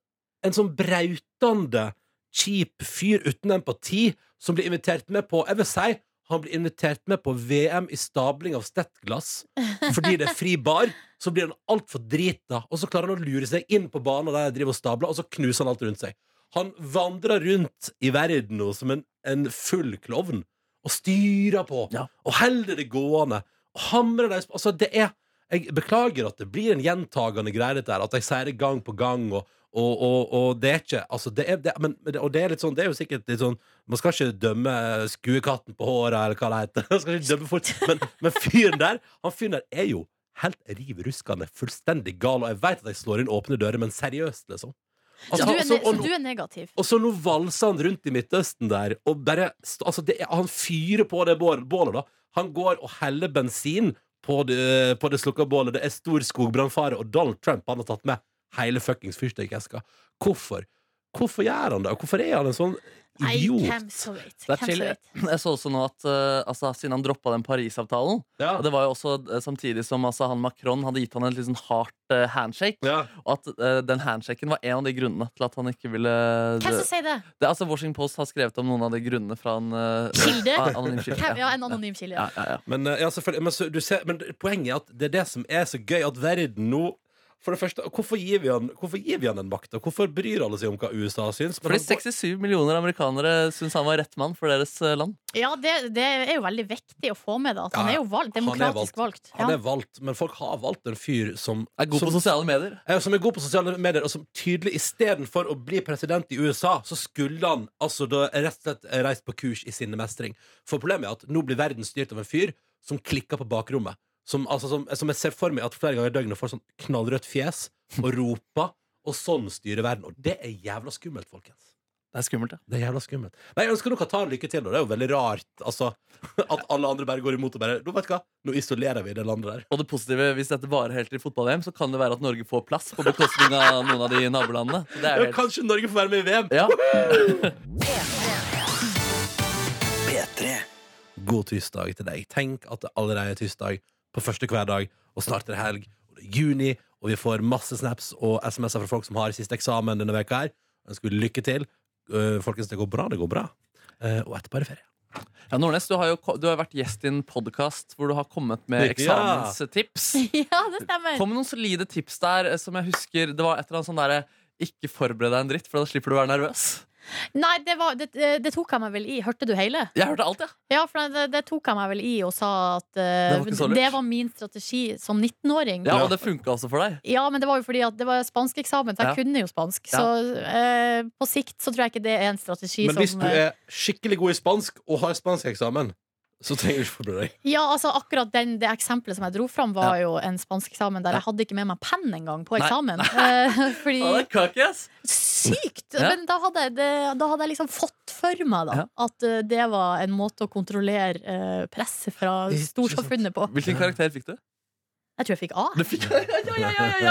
B: En sånn brautende Kjip fyr uten empati Som blir invitert med på Jeg vil si Han blir invitert med på VM i stabling av stettglass Fordi det er fri bar Så blir han alt for drita Og så klarer han å lure seg inn på banen Der jeg driver og stabler Og så knuser han alt rundt seg Han vandrer rundt i verden nå Som en, en full klovn Og styrer på
D: Ja.
B: Og helder det gående Og hamrer deg Altså det er jeg beklager at det blir en gjentagende greie dette her, at jeg sier det gang på gang, og, og, og, og det er ikke altså det er, det, men, men det- Og det er litt sånn, det er jo sikkert litt sånn Man skal ikke dømme skuekatten på håret, eller hva det heter. Man skal ikke dømme folk, men, men fyren der Han fyren der er jo helt riv ruskende, fullstendig gal, og jeg veit at jeg slår inn åpne dører, men seriøst, liksom.
C: Så
B: Altså,
C: du er,
B: altså,
C: ne så
B: og-
C: du er negativ?
B: og så nå valser han rundt i Midtøsten der Og bare, st- altså det, er- han fyrer på det bål- bålet da Han går og heller bensin på det, på det slukka bålet Det er stor skogbrannfare Og Donald Trump han har tatt med hele fuckings fyrstøykeska Hvorfor? Hvorfor gjør han det? Og Hvorfor er han en sånn
C: Nei,
B: idiot?
C: hvem som vet?
D: Det
C: Hvem
D: er chill.
C: som vet?
D: Jeg så også nå at eh, altså, Siden han droppa den Parisavtalen
B: Ja,
D: Og Det var jo også eh, samtidig som altså, han Macron hadde gitt han en litt sånn hardt eh, handshake.
B: ja.
D: Og at eh, den handshaken var en av de grunnene til at han ikke ville
C: Hvem som sier det?
D: det, altså Washington Post har skrevet om noen av de grunnene fra en eh,
C: Kilde?
D: a- anonym kilde.
C: Hvem? Ja, en anonym kilde.
D: Ja, ja, ja.
B: Men, eh, ja, selvfølgelig. men, så, du ser, men poenget er at det er det som er så gøy At verden nå for det første, hvorfor gir vi han, hvorfor gir vi han den makta? Hvorfor bryr alle seg om hva USA syns? Men
D: Fordi
B: han går-
D: 67 millioner amerikanere syns han var rett mann for deres eh, land.
C: Ja, det, det er jo veldig viktig å få med det. At han
B: Ja,
C: er
B: ja.
C: jo valgt,
B: Han er
C: demokratisk valgt.
B: Han
C: Ja.
B: er valgt, men folk har valgt en fyr som
D: Er god på
B: som,
D: sosiale medier.
B: Ja, som er god på sosiale medier, og som tydelig istedenfor å bli president i USA, så skulle han altså da rett og slett reist på kurs i sinnemestring. For problemet er at nå blir verden styrt av en fyr som klikker på bakrommet. Som, altså, som, som jeg ser for meg at flere ganger i døgnet får sånn knallrødt fjes og roper, og sånn styrer verden. Og det er jævla skummelt, folkens.
D: Det er skummelt, ja.
B: Det er jævla skummelt. Nei, Jeg ønsker nok Qatar lykke til. Og det er jo veldig rart altså, at alle andre bare går imot og bare Nå vet du hva, nå isolerer vi det landet der.
D: Og det positive, hvis dette varer helt til fotball-VM, så kan det være at Norge får plass på bekostning av noen av de nabolandene. Så Det er
B: Ja,
D: jo helt...
B: kanskje Norge får være med i VM!
D: Ja.
B: God tirsdag til deg. Tenk at det allerede er tirsdag på første hverdag, og snart er det helg. Og det er juni, og vi får masse snaps og SMS-er fra folk som har siste eksamen denne veka her. Ønsker lykke til. Eh, Folkens, det går bra. Det går bra. Eh, Og etterpå er det ferie.
D: Ja, Nordnes, du har jo ko- du har vært gjest i en podkast hvor du har kommet med
B: Riktig, ja.
D: eksamenstips.
C: ja, det stemmer.
D: Kom med noen solide tips der eh, som jeg husker Det var et eller annet sånn derre ikke forbered deg en dritt, for da slipper du å være nervøs.
C: Nei, det, var, det, eh, det tok jeg meg vel i. Hørte du hele?
D: Jeg hørte alt, ja.
C: Ja, for det, det tok jeg meg vel i og sa at eh,
D: Det var ikke så lurt.
C: det var min strategi som 19-åring.
D: ja. Og det funka også for deg.
C: Ja, men det var jo fordi at det var spanskeksamen, for jeg
D: Ja.
C: kunne jo spansk.
D: Ja.
C: Så eh, på sikt så tror jeg ikke det er en strategi
B: Men
C: som eh,
B: hvis du er skikkelig god i spansk og har spanskeksamen, så trenger du ikke forberede deg.
C: Ja, altså akkurat den, Det eksempelet som jeg dro fram, var jo en spanskeksamen der jeg hadde ikke med meg penn engang på
D: Nei.
C: eksamen. Eh, fordi
D: Ja, det er cocky, ass.
C: Sykt!
D: Ja.
C: Men da hadde, jeg det, da hadde jeg liksom fått for meg da
D: Ja.
C: at eh, det var en måte å kontrollere eh, presset fra
B: Ikke sant.
C: storsamfunnet på.
D: Hvilken karakter fikk du?
C: Jeg tror jeg fikk A.
D: Du fikk ja, ja, ja, ja, ja.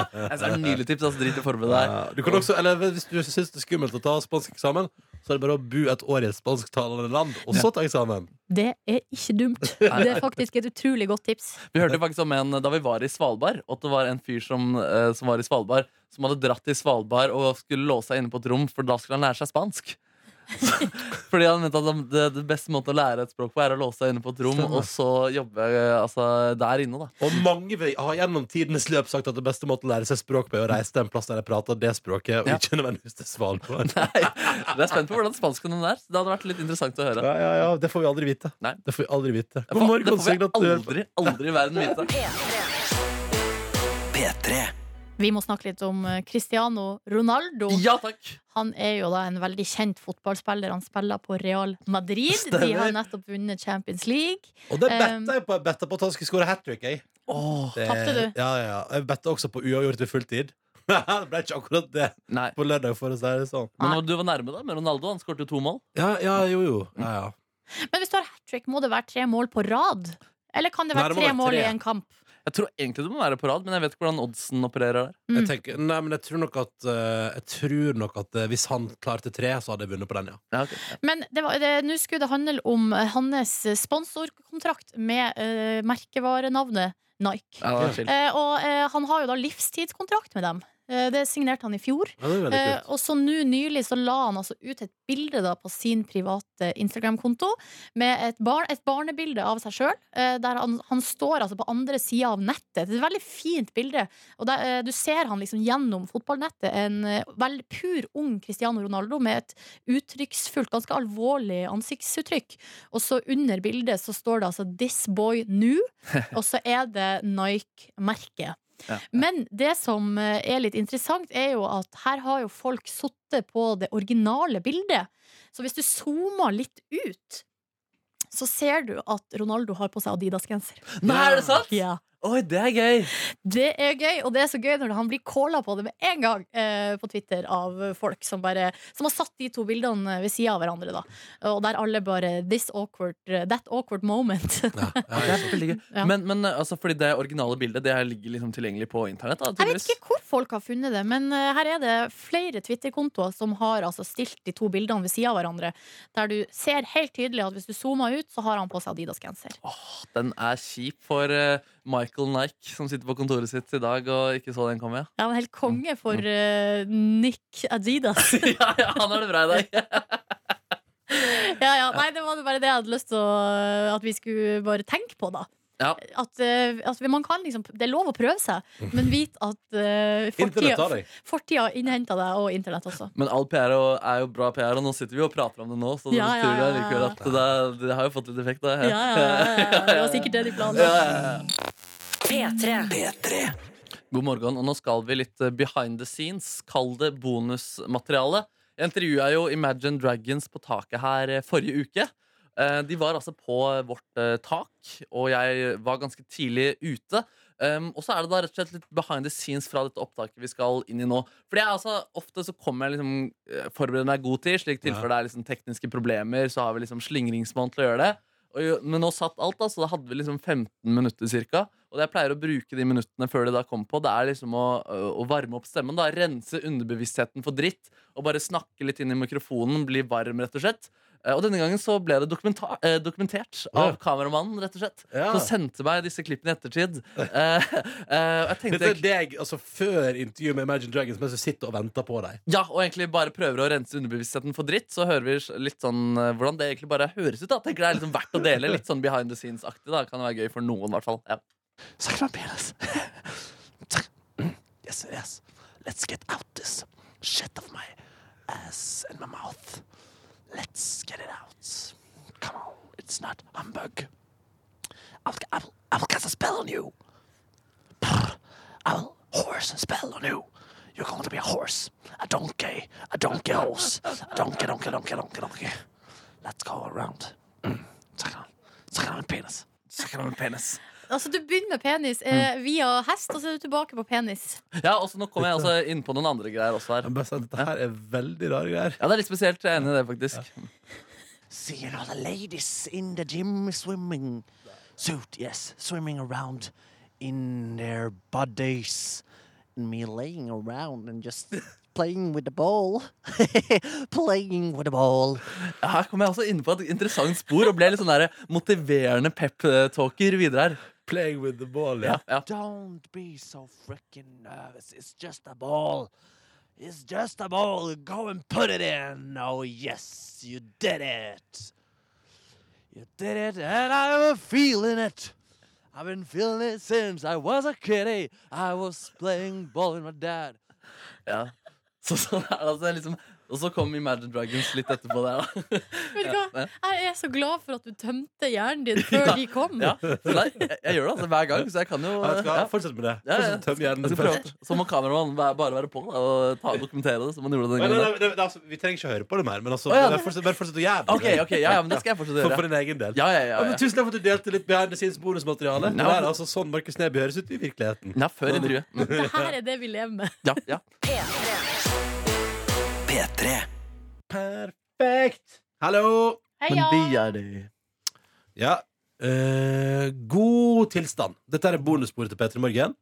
D: Jeg synes det er en nydelig tips. Altså, drit i formen der.
B: Ja, Du kan også, eller Hvis du syns det er skummelt å ta spansk eksamen, så er det bare å bo et år i et spansktalende land, og så ta eksamen.
C: Det er ikke dumt. Det er faktisk et utrolig godt tips.
D: Vi hørte faktisk om en da vi var i Svalbard, at det var en fyr som, eh, som var i Svalbard, som hadde dratt til Svalbard og skulle låse seg inne på et rom, for da skulle han lære seg spansk. Fordi han mente at han- det, det beste måten å lære et språk på, er å låse seg inne på et rom og så jobbe eh, altså, der inne. da
B: Og mange vil- har gjennom tidenes løp sagt at det beste måten å lære seg språk på, er å reise til en plass der de prater det språket, og
D: Ja.
B: ikke nødvendigvis til Svalbard.
D: Nei, Det er spent på hvordan spansken den er. Det hadde vært litt interessant å høre.
B: Ja, ja, ja, det får vi aldri vite.
D: Nei.
B: Det får vi aldri vite.
D: Det
B: God
D: får-
B: morgen,
D: det får vi
B: signatør.
D: aldri, aldri i verden vite.
E: P3.
C: Vi må snakke litt om eh, Cristiano Ronaldo.
D: Ja takk!
C: Han er jo da en veldig kjent fotballspiller. Han spiller på Real Madrid. De har nettopp vunnet Champions League.
B: Og det
C: Um,
B: betta jeg på. Jeg betta på at han skulle skåre hat trick. Jeg.
D: Åh,
B: Det-
C: Tapte du?
B: Ja, ja, ja. Jeg betta også på uavgjort i fulltid. det ble ikke akkurat det
D: nei.
B: på lørdag, for å si det sånn.
D: Men du var nærme da med Ronaldo. Han skåret jo to mål.
B: Ja, ja, jo, jo. Ja, ja.
C: Men hvis du har hat trick, må det være tre mål på rad? Eller kan det
B: Nei,
C: være
B: det må
C: tre
B: være
C: mål i
B: tre.
C: en kamp?
D: Jeg tror egentlig det må være på rad, men jeg vet ikke hvordan oddsen opererer der.
C: Mm.
B: Jeg tenker, nei, men jeg tror nok at, eh, jeg tror nok at eh, hvis han klarte tre, så hadde jeg vunnet på den, ja.
D: Ja, ok.
C: Men det var- det- nå skulle det handle om eh, hans sponsorkontrakt med eh, merkevarenavnet Nike.
D: Ja, det var chill.
C: Eh, og eh, han har jo da livstidskontrakt med dem. Eh, det signerte han i fjor.
B: ja det er veldig
C: Eh,
B: kult.
C: og så nå nylig så la han altså ut et bilde da på sin private Instagram-konto med et, barn, et barnebilde av seg sjøl, eh, der han, han står altså på andre sida av nettet. Det er et veldig fint bilde. Og der, eh, du ser han liksom gjennom fotballnettet. En eh, veldig pur ung Cristiano Ronaldo med et uttrykksfullt, ganske alvorlig ansiktsuttrykk. Og så under bildet så står det altså 'This boy new', og så er det Nike-merket. Men det som eh, er litt interessant, er jo at her har jo folk sittet på det originale bildet. Så hvis du zoomer litt ut, så ser du at Ronaldo har på seg Adidas-genser.
D: Nei, er det sant?
C: Ja.
D: Oi, det er gøy!
C: Det er gøy, og det er så gøy når han blir calla på det med en gang eh, på Twitter av folk som, bare, som har satt de to bildene ved sida av hverandre. Da. Og der alle bare This awkward, eh, that awkward moment.
D: Det er veldig gøy.
C: Ja.
D: Men, men altså, fordi det originale bildet Det her ligger liksom tilgjengelig på internett? Da,
C: Jeg vet
D: tydeligvis.
C: ikke hvor folk har funnet det, men eh, her er det flere Twitter-kontoer som har altså, stilt de to bildene ved sida av hverandre, der du ser helt tydelig at hvis du zoomer ut, så har han på seg Adidas-genser.
D: Åh, den er kjip for eh, Michael Nike, som sitter på kontoret sitt i dag og ikke så den komme.
C: Ja, men helt konge for eh, Nick Adidas.
D: Ja, ja, ja han har det bra i dag.
C: ja, ja, nei, det var bare det jeg hadde lyst til å, eh, at vi skulle bare tenke på, da.
D: Ja.
C: At, eh, at man kan liksom Det er lov å prøve seg, men vit at eh,
B: Internett har
C: fortida,
B: deg.
C: fortida innhenta deg, og internett også.
D: Men all PR er jo, er jo bra PR, og nå sitter vi og prater om det nå, så
C: Ja, ja,
D: tror jeg
C: ja,
D: likevel
C: ja.
D: at det, det har jo fått litt effekt. Da.
C: Ja, ja, ja, ja. Det var sikkert det de planla.
D: Ja, ja, ja.
A: P3.
E: P3.
D: God morgen, og nå skal vi litt eh, behind the scenes. Kall det bonusmateriale. Jeg intervjua jo Imagine Dragons på taket her eh, forrige uke. Eh, De var altså på vårt eh, tak, og jeg var ganske tidlig ute. Um, og så er det da rett og slett litt behind the scenes fra dette opptaket vi skal inn i nå. Fordi jeg altså, Ofte så kommer jeg liksom eh, forbereder meg god tid, slik tilfelle det er liksom tekniske problemer. Så har vi liksom slingringsmåned til å gjøre det. Og, jo- men nå satt alt, da, så da hadde vi liksom 15 minutter cirka. Og det jeg pleier å bruke de minuttene før det da kommer på, det er liksom å, å varme opp stemmen. da, Rense underbevisstheten for dritt. Og bare snakke litt inn i mikrofonen, bli varm, rett og slett. Eh, Og denne gangen så ble det dokumenta- eh, dokumentert av
B: Ja.
D: kameramannen, rett og slett.
B: Ja.
D: Som sendte meg disse klippene i ettertid. Eh, eh, og jeg tenkte
B: Dette er deg altså, før intervjuet med Imagine Dragons, mens du sitter og venter på deg.
D: Ja, og egentlig bare prøver å rense underbevisstheten for dritt. Så hører vi s- litt sånn eh, hvordan det egentlig bare høres ut. da Tenker det er liksom verdt å dele. Litt sånn behind the scenes-aktig. da Kan det være gøy for noen, i hvert fall. Ja.
G: Suck my penis. Suck- yes, yes. Let's get out this shit of my ass and my mouth. Let's get it out. Come on, it's not humbug. I'll, I'll, I'll cast a spell on you. Brr. I'll horse a spell on you. You're going to be a horse, a donkey, a donkey horse, a donkey, donkey, donkey, donkey, donkey. Let's go around. Mm. Suck it on, suck it on my penis. Suck it on my penis.
C: Altså, du begynner med penis eh, via hest, og så er du tilbake på penis.
D: ja, og så Nå kommer jeg også inn på noen andre greier også sånn, her.
B: Men bare si at Dette her er veldig rare greier.
D: Ja, det er litt spesielt. Jeg er enig i det, faktisk.
G: Seeing all the ladies in the gym swimming suit, yes, swimming around in their bodies. And me laying around and just playing with the ball. playing with the ball.
D: Her kom jeg også inn på et interessant spor og ble litt sånn der motiverende pep-talker videre her.
B: Playing with the ball,
D: Ja, ja.
G: Don't be so freaking nervous. It's just a ball. It's just a ball. Go and put it in. Oh, yes, you did it. You did it, and I'm feeling it. I've been feeling it since I was a kitty. I was playing ball with my dad.
D: ja. Så sånn er det altså liksom Og så kom Imagine Dragons litt etterpå der, da.
C: Vet du hva?
D: Ja.
C: Jeg er så glad for at du tømte hjernen din før
D: Ja.
C: de kom.
D: Ja. Så nei, jeg, jeg gjør det altså hver gang, så jeg kan jo
B: Ja, jeg skal
D: ja.
B: Fortsett med det.
D: Ja, ja.
B: Fortsett å tømme sånn hjernen
D: Jeg
B: din
D: skal
B: først.
D: prøve. Så må kameramannen bare- bare være på da, og ta, dokumentere det. som han gjorde
B: Nei,
D: den
B: nei,
D: gangen.
B: nei, det- altså, vi trenger ikke høre på det mer, men altså,
D: Å, ja.
B: bare fortsett- bare fortsett å gjøre det.
D: Ok, ok, ja, ja, men det skal jeg fortsette å
B: For, for
D: gjøre.
B: din egen del.
D: Ja, ja, ja,
B: Ja, men
D: ja.
B: tusen takk for at du delte litt behind the scenes bonusmateriale.
D: Ja.
B: Det er altså sånn Markus Neby høres ut i virkeligheten.
D: ja før intervjuet. Mm.
C: Det her er det vi lever med.
D: Ja, ja.
E: P3.
B: Perfekt! Hallo!
C: Heia!
D: er det.
B: Ja. Eh, god tilstand. Dette er bonussporet til P3 Morgen,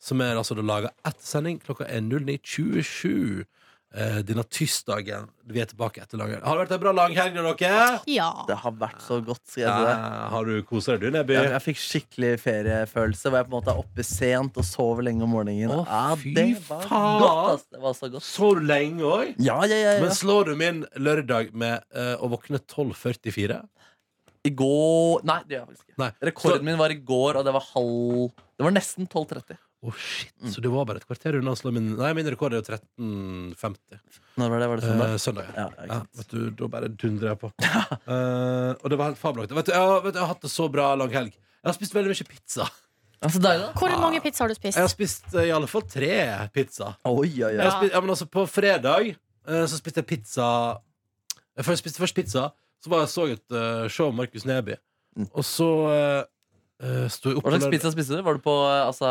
B: som er altså laga etter sending. Klokka er 09.27 eh, denne tirsdagen. Vi er tilbake etter langhelg. Har det vært en bra langhelg, da, dere?
C: Ja.
D: Det har vært så godt, skal jeg si deg.
B: Ja, har du kosa deg, du, Neby?
D: Jeg, jeg fikk skikkelig feriefølelse, hvor jeg på en måte er oppe sent og sover lenge om morgenen.
B: Å,
D: Ja,
B: fy
D: det var
B: faen.
D: godt, ass. Det var så godt.
B: Så du lenge òg?
D: Ja, ja, ja, ja.
B: Men slår du min lørdag med eh, å våkne 12.44?
D: I går Nei, det gjør jeg faktisk ikke.
B: Nei.
D: Rekorden min var i går, og det var halv Det var nesten 12.30.
B: Å, shit. Så det var bare et kvarter unna å slå min Nei, min rekord er jo 13.50.
D: Når var det? Var det
B: Søndag.
D: søndag?
B: Eh, søndag ja.
D: Ja, ikke
B: Ja,
D: sant.
B: vet du, da bare dundrer jeg på. Eh, og det var helt fabelaktig. Vet du, jeg, har- vet du, jeg har hatt det så bra lang helg. Jeg har spist veldig mye pizza.
D: Ja, så deilig, da.
C: Hvor mange pizzaer har du spist?
B: Jeg har spist eh, i alle fall tre pizza.
D: Oi, oi,
B: Jeg
D: oi.
B: har spist, ja, men altså, på fredag eh, så spiste jeg pizza Jeg først spiste først pizza, så var jeg så et eh, show av Markus Neby. Og så eh, eh, sto jeg opp
D: Hva
B: på
D: slags
B: lørdag-
D: pizza spiste du? Mm. Var du på eh, altså,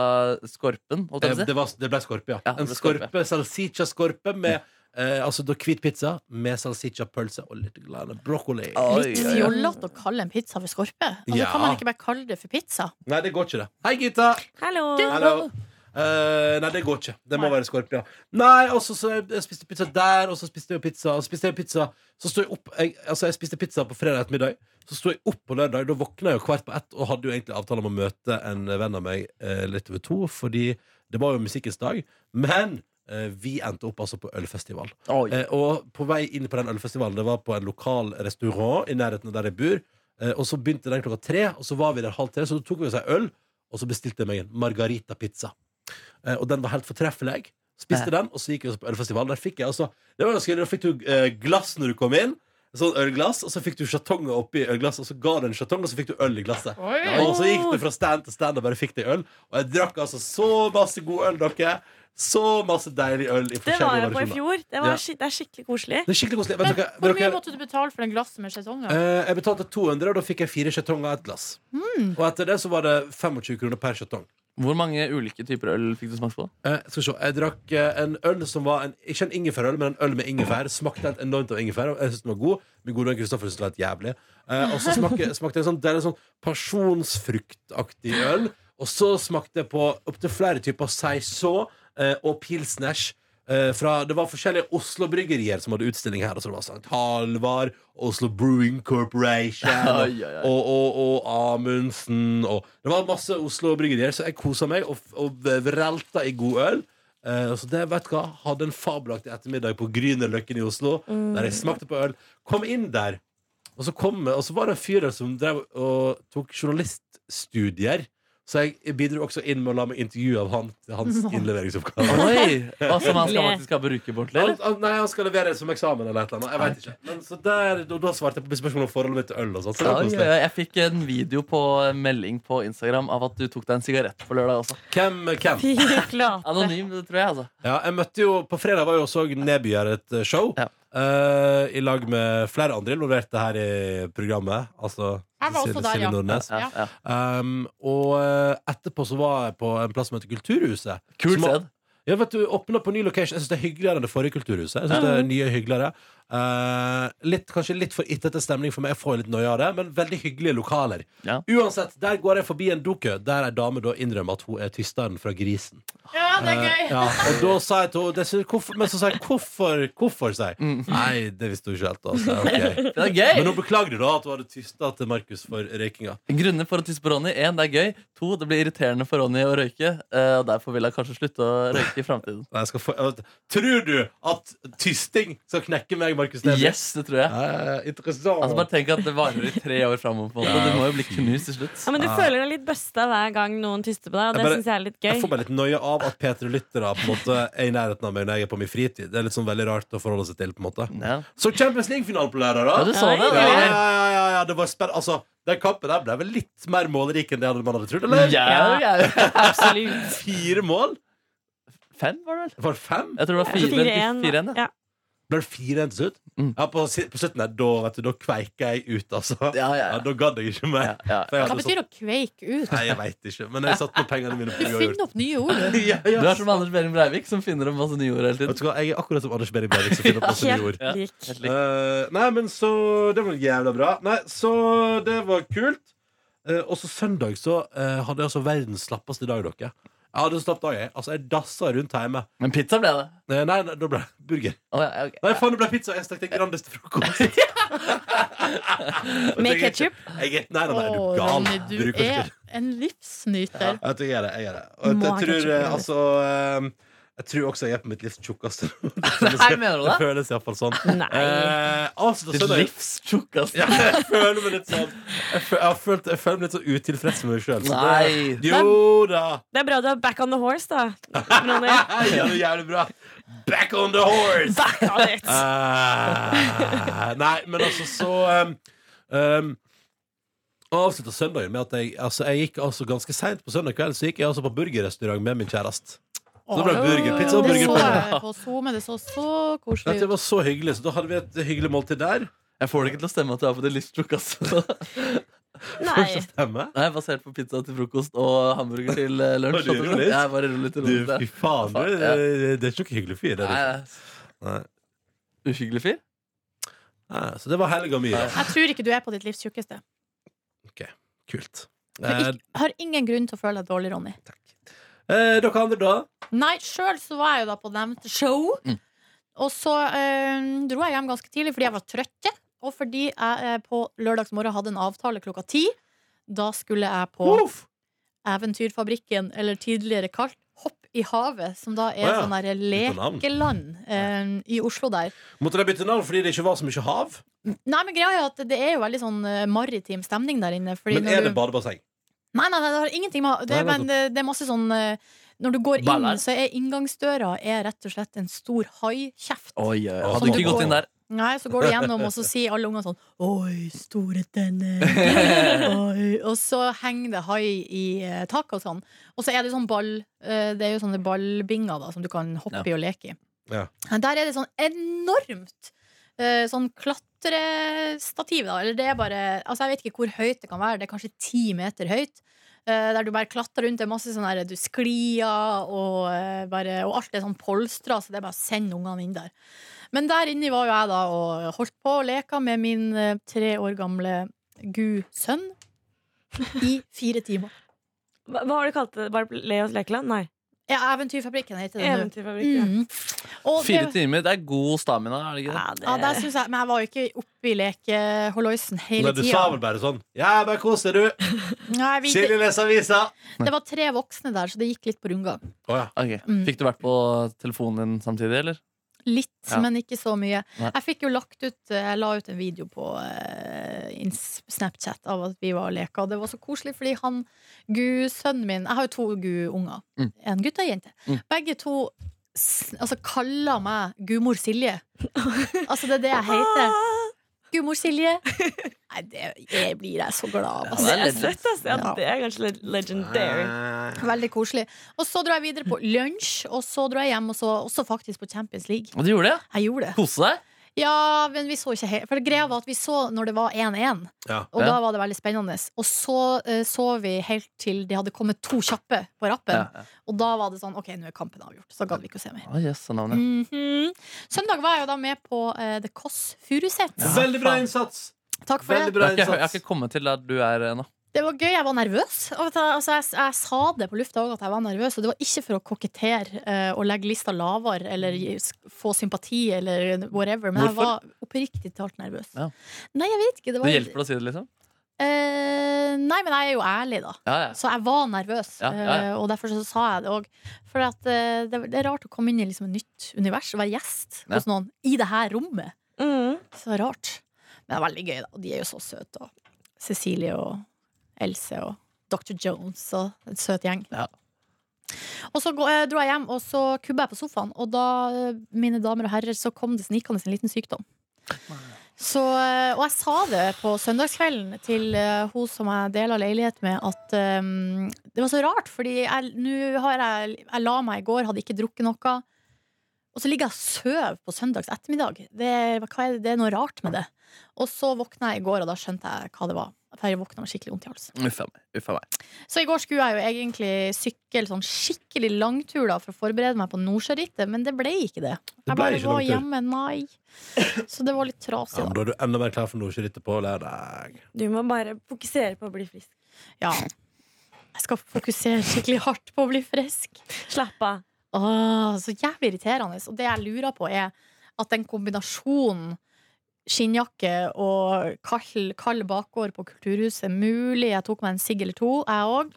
D: Skorpen? holdt
B: Eh,
D: jeg på å si?
B: Det, var, det ble skorpe, ja.
D: Ja, det
B: en
D: ble
B: skorpe,
D: skorpe.
B: salsiccia skorpe med eh, altså, da, hvit pizza med salsiccia pølse og litt grann broccoli.
D: Oi,
C: Litt
D: oi, oi.
C: fjollete å kalle en pizza for skorpe. Altså,
B: Ja.
C: Kan man ikke bare kalle det for pizza?
B: Nei, det går ikke, det. Hei, Gita!
C: Hallo!
B: Hallo. Eh, nei, det går ikke. Det må være skorp, ja. Nei, og så så jeg spiste pizza der, og så spiste jeg pizza, og så spiste jeg pizza Så sto jeg opp jeg, Altså, jeg spiste pizza på fredag ettermiddag, så sto jeg opp på lørdag. Da våkna jeg jo kvart på ett og hadde jo egentlig avtale om å møte en venn av meg eh, litt over to, fordi det var jo musikkens dag. Men eh, vi endte opp altså på ølfestival.
D: Oi.
B: Eh, og på vei inn på den ølfestivalen Det var på en lokal restaurant i nærheten av der jeg bor. Eh, og så begynte den klokka tre, og så var vi der halv tre. Så da tok vi oss ei øl, og så bestilte jeg meg en margarita-pizza. Eh, og den var helt fortreffelig. Spiste den, og så gikk vi oss på ølfestival. Der fikk jeg altså Det var ganske gøy, Da fikk du eh, glass når du kom inn. Sånn ølglass, og så fikk du sjatonger oppi ølglasset, og så ga du en sjetong, og så fikk du øl i glasset. Og så gikk det fra stand til stand og bare fikk deg øl. Og jeg drakk altså så masse god øl, dere. Så masse deilig øl i
H: Det var
B: forskjellige
H: jeg på i
B: variasjoner.
H: fjor. Det,
B: Ja.
H: var skik det er skikkelig koselig.
B: Det er skikkelig koselig. Vet
C: Men,
B: dere,
C: hvor mye
B: dere,
C: måtte du betale for den glasset med sjesonger?
B: eh, jeg betalte 200, og da fikk jeg fire skjetonger og ett glass.
H: Mm.
B: Og etter det så var det 25 kroner per skjetong.
D: Hvor mange ulike typer øl fikk du smakt på?
B: Eh, skal vi se, Jeg drakk eh, en øl som var en, ikke en ingefærøl, men en øl med ingefær. Smakte helt enormt av ingefær. og Jeg synes den var god. Min gode venn Kristoffer syntes den var helt jævlig. Eh, og så smakte, smakte jeg sånn, det er en sånn pasjonsfruktaktig øl. Og så smakte jeg på opptil flere typer saison eh, og pilsners. eh, Fra, det var forskjellige Oslo-bryggerier som hadde utstilling her. Og så det var Sankt Halvard, Oslo Brewing Corporation og,
D: Oi, oi, oi.
B: og, og, og Amundsen og Det var masse Oslo-bryggerier, så jeg kosa meg og, og vrelta i god øl. Eh, så det, vet du hva, hadde en fabelaktig ettermiddag på Grünerløkken i Oslo,
D: Mm.
B: der jeg smakte på øl. Kom inn der, og så, kom, og så var det en fyr der som drev og tok journaliststudier. Så jeg bidro også inn med å la meg intervjue av han til hans innleveringsoppgave.
D: Oi! Og som han skal faktisk ha bruke bort,
B: Han,
D: eller?
B: han, nei, han skal levere det som eksamen eller et eller annet. Jeg vet ikke. Men, så der, da, da svarte jeg på spørsmål om forholdet mitt til øl. Og sånt, så det var
D: Oi,
B: koselig.
D: oi, jeg fikk en video på en melding på Instagram av at du tok deg en sigarett på lørdag også.
B: Hvem, hvem?
D: Anonym, det tror jeg, altså.
B: Ja, jeg møtte jo, På fredag var jo også Neby her et eh, show.
D: Ja.
B: eh, I lag med flere andre involverte her i programmet. Altså
C: Jeg var også
B: Silje-
C: der,
B: Silje
C: ja.
B: Nordnes.
D: Ja, ja.
B: Um, og eh, etterpå så var jeg på en plass som heter Kulturhuset.
D: Kul
B: Som-
D: sted.
B: Ja, vet du, åpnet på ny location Jeg synes det er hyggeligere enn det forrige kulturhuset Jeg synes det er nye hyggeligere Eh, litt, kanskje litt for ittete stemning for meg, jeg får litt noia av det, men veldig hyggelige lokaler.
D: Ja.
B: Uansett, der går jeg forbi en doku der ei dame da innrømmer at hun er tysteren fra Grisen.
C: Ja, det er gøy.
B: Ja, og da sa jeg til henne det synes- hvorfor, Men så sa jeg hvorfor? Hvorfor? sa jeg. Nei, det visste hun ikke helt. da, sa jeg, ok.
D: Det er
B: Men
D: gøy!
B: hun beklagde da at hun hadde tysta til Markus for røykinga.
D: Grunner for å tisse på Ronny. Én, det er gøy. To, det blir irriterende for Ronny å røyke. eh, Og derfor vil han kanskje slutte å røyke i framtiden.
B: Nei, jeg skal få, jeg vet- tror du at tysting skal knekke meg, Markus Neby?
D: Yes, det tror jeg.
B: Eh, interessant.
D: Altså Bare tenk at det varer i tre år framover. på en måte. Du må jo bli knust til slutt.
H: Ja, men du føler deg litt busta hver gang noen tyster på deg,
B: Jeg
H: og det
B: bare-
H: syns jeg er litt
B: jeg får
H: gøy.
B: meg litt nøye av at P3-lyttere på en måte er i nærheten av meg når jeg er på min fritid. Det er litt sånn veldig rart å forholde seg til. på en måte
D: Ja.
B: Så Champions League-finale på lørdag,
D: Ja,
B: da!
D: du så det,
B: Ja, ja,
D: da.
B: ja, ja, ja, det var spenn- Altså, Den kampen der ble vel litt mer målrik enn det man hadde trodd? Eller?
D: Ja, ja.
H: Absolutt.
B: Fire mål?
D: Fem, var det vel?
B: Var det fem?
D: Jeg tror det var fire-
H: 4-1.
D: 4-1. ja.
H: Ja.
B: Ble det fire en til slutt?
D: Mm.
B: Ja, på, si- på slutten der, da, vet du, da kveiker jeg ut, altså. Ja,
D: Ja, ja,
B: Da gadd jeg ikke mer.
D: ja, ja.
B: For jeg
C: Hva
B: hadde sånn-
C: betyr å kveike ut?
B: Nei, jeg veit ikke. Men jeg satte nå pengene mine
C: Du
B: på uavgjort.
C: finner opp nye ord. du.
B: Ja,
D: Du
B: ja.
D: er som Anders Behring Breivik, som finner opp masse nye ord hele
B: Vet
D: tiden.
B: du hva, Jeg er akkurat som Anders Behring Breivik. som finner opp masse nye ord.
D: Ja.
H: Helt lik.
D: Helt likt.
B: Eh, nei, men så Det var jævla bra. Nei, så det var kult. Eh, og så søndag så eh, hadde jeg altså verdens slappeste dag, dere. Jeg hadde en slapp dag, jeg. Altså, jeg dassa rundt hjemme.
D: Men pizza ble det.
B: Eh, nei, nei, da ble det burger.
D: Å, ja, ok.
B: Nei, faen, det ble pizza. Jeg stekte en Grandis til frokost.
H: Med ketchup?
B: Jeg, jeg, nei, nei, nei, er
C: Å,
B: du gal?
C: Ronny, du
B: Bruker ikke
C: er en livsnyter.
B: Jeg vet, jeg er det. Jeg er det.
C: Du
B: Og
C: må
B: jeg,
C: ha
B: jeg tror eh, altså eh, Jeg tror
C: ketchup i øret.
B: også jeg er på mitt livs tjukkeste.
D: Nei, mener du det?
B: Det føles iallfall sånn.
H: Nei.
B: Eh, altså,
D: Ditt
B: søndag
D: livs tjukkeste.
B: ja, jeg føler meg litt sånn Jeg, føl, jeg, har følt, jeg føler meg litt så utilfreds med meg sjøl.
D: Nei.
B: Jo da!
H: Det er bra du er back on the horse, da. Ronny.
B: Hei, ja, det er jævlig bra. Back on the horse!
H: Back on it.
B: Eh, nei, men altså så um, um, Avslutta søndagen med at jeg, altså, jeg gikk altså ganske seint på søndag kveld Så gikk jeg altså på burgerrestaurant med min kjæreste. Så det ble burger, pizza og
C: Det
B: burger.
C: så
B: på
C: jeg på SoMe. Det så så
B: Ja,
C: koselig
B: Det
C: ut.
B: var så hyggelig, så da hadde vi et hyggelig måltid der.
D: Jeg får det ikke til å stemme at du er på ditt livs tjukkeste.
H: Nei.
B: Stemme?
D: Nei, basert på pizza til frokost og hamburger til eh, lunsj.
B: Var du ironisk?
D: Jeg var ironisk
B: Du, fy
D: ironisk.
B: faen, du,
D: Ja.
B: det er ikke noe hyggelig fyr. Det er
D: Nei,
B: det. ikke.
D: nei.
B: Nei.
D: Uhyggelig fyr?
B: Nei, Ah, Så det var helga mi. da.
D: Nei.
C: Jeg tror ikke du er på ditt livs tjukkeste.
B: Kult.
C: For
B: Eh,
C: ikk- Har ingen grunn til å føle deg dårlig, Ronny.
B: eh, dere andre, da?
C: Nei, sjøl så var jeg jo da på nevnte show. Og så eh, dro jeg hjem ganske tidlig fordi jeg var trøtt. Og fordi jeg eh, på lørdagsmorgen hadde en avtale klokka ti. Da skulle jeg på
B: Uff!
C: Eventyrfabrikken, eller tidligere kalt Hopp i havet, som da
B: Å ja,
C: er sånn der
B: bytte navn.
C: lekeland eh, i Oslo der.
B: Måtte de bytte navn fordi det ikke var så mye hav?
C: Nei, men greia er at det er jo veldig sånn eh, maritim stemning der inne. Fordi
B: Men
C: når
B: er det
C: du...
B: badebasseng?
C: Nei, nei, nei, det har ingenting med det,
B: Nei,
C: er- Men det, det er masse sånn eh, Når du går inn,
D: Baller.
C: så er inngangsdøra er rett og slett en stor haikjeft.
D: Oi, oi.
B: Sånn
D: Hadde du
C: det
D: ikke gått
C: går.
D: inn der?
C: Nei, så går du gjennom, og så sier alle ungene sånn Oi, store tenner. Oi. Og så henger det hai i eh, taket og sånn. Og så er det sånn ball eh, Det er jo sånne ballbinger da som du kan hoppe i og leke i.
B: Ja.
C: Men Der er det sånn enormt eh, sånn klatrestativ, da. Eller det er bare Altså, jeg vet ikke hvor høyt det kan være. Det er kanskje ti meter høyt. eh, Der du bare klatrer rundt. Det er masse sånn her Du sklir og eh, bare Og alt er sånn polstra, så det er bare å sende ungene inn der. Men der inni var jo jeg da og holdt på og leka med min eh, tre år gamle gu-sønn i fire timer.
H: Hva hva har du kalt det? Bare Leos lekeland? Nei.
C: Ja, Eventyrfabrikken heter det nå.
H: Eventyrfabrikken.
C: Mm. Og
D: Fire
C: det,
D: timer, det er god stamina, er det ikke det?
C: ja, der synes jeg, men jeg var jo ikke oppe i lekeholoisen hele
B: Nei, du sa
C: tida.
B: vel bare sånn Ja, bare kos deg, du.
C: Nei, jeg vet
B: Silje leser avisa.
C: ikke. Det var tre voksne der, så det gikk litt på rundgang.
B: Å ja.
D: Ok.
C: Mm.
D: Fikk du vært på telefonen din samtidig, eller?
C: Litt,
D: Ja.
C: men ikke så mye.
D: Nei.
C: Jeg fikk jo lagt ut eh, Jeg la ut en video på eh, ins- Snapchat av at vi var og leka, og det var så koselig, fordi han gudsønnen min Jeg har jo to guunger.
D: Mm.
C: En gutt og ei jente.
D: Mm.
C: Begge to s- altså, kaller meg gudmor Silje. altså, det er det jeg heter.
H: Ah,
C: Gudmor Silje. Nei, det jeg blir jeg så glad av.
H: Det
C: Altså.
H: er søtt, ass. Ja,
C: Ja.
H: det er kanskje litt legendary.
B: Ah.
C: Veldig koselig. Og så dro jeg videre på lunsj, og så dro jeg hjem, og så også faktisk på Champions League.
D: Og du gjorde det? ja?
C: Jeg gjorde det.
D: Kose deg?
C: Ja, men vi så ikke helt For greia var at vi så når det var 1-1,
B: Ja.
C: og
D: Ja.
C: da var det veldig spennende. Og så eh, så vi helt til de hadde kommet to kjappe på rappen,
D: Ja, ja.
C: og da var det sånn OK, nå er kampen avgjort. Så gadd vi ikke å se mer.
D: Å, jøss, så navnet.
C: Mhm. Søndag var jeg jo da med på eh, The Kåss Furuseth.
B: Eh, Veldig bra innsats!
C: Takk for
B: Veldig
C: det.
B: bra
D: Jeg har, ikke, jeg har
B: innsats.
D: ikke kommet til at du er eh, ennå.
C: Det var gøy. Jeg var nervøs. Og vet du, Altså, jeg, jeg sa det på lufta òg at jeg var nervøs, og det var ikke for å kokettere eh, og legge lista lavere eller gi- s- få sympati eller whatever, men jeg
D: Hvorfor?
C: var oppriktig talt nervøs.
D: Ja.
C: Nei, jeg vet ikke. Det var
D: Det hjelper å si det, liksom?
C: Eh, nei, men jeg er jo ærlig, da.
D: Ja, ja.
C: Så jeg var nervøs,
D: Ja, ja, ja.
C: eh, og derfor så sa jeg det òg. For at, eh, det, det er rart å komme inn i liksom et nytt univers og være gjest
D: Ja.
C: hos noen i det her rommet.
H: Mm.
C: Så rart. Men det er veldig gøy, da. Og de er jo så søte. Og Cecilie og Else og Dr. Jones og en søt gjeng.
D: Ja.
C: Og så gå- eh, dro jeg hjem, og så kubba jeg på sofaen. Og da, eh, mine damer og herrer, så kom det snikende en liten sykdom. Så, eh, og jeg sa det på søndagskvelden til eh, hun som jeg deler leilighet med, at eh, det var så rart, fordi jeg, nå har jeg, jeg la meg i går, hadde ikke drukket noe. Og så ligger jeg og sover på søndags ettermiddag. Det, hva er det? det er noe rart med det. Og så våkna jeg i går, og da skjønte jeg hva det var. For jeg våkna med skikkelig vondt i halsen.
D: Uff a meg. Uff a meg.
C: Så i går skulle jeg jo egentlig sykle sånn skikkelig langtur da, for å forberede meg på Nordsjørittet, men det ble ikke det.
B: Det ble
C: Jeg bare
B: ikke
C: var
B: langtur.
C: hjemme, nei. Så det var litt
B: Ja,
C: trasig,
B: men
C: da.
B: da er du enda mer klar for nordsjørittet på lørdag.
H: Du må bare fokusere på å bli frisk.
C: Ja. Jeg skal fokusere skikkelig hardt på å bli frisk.
H: Slapp av.
C: Åh, så jævlig irriterende. Og det jeg lurer på, er at den kombinasjonen skinnjakke og kald, kald bakgård på Kulturhuset Mulig jeg tok meg en sigg eller to, jeg òg.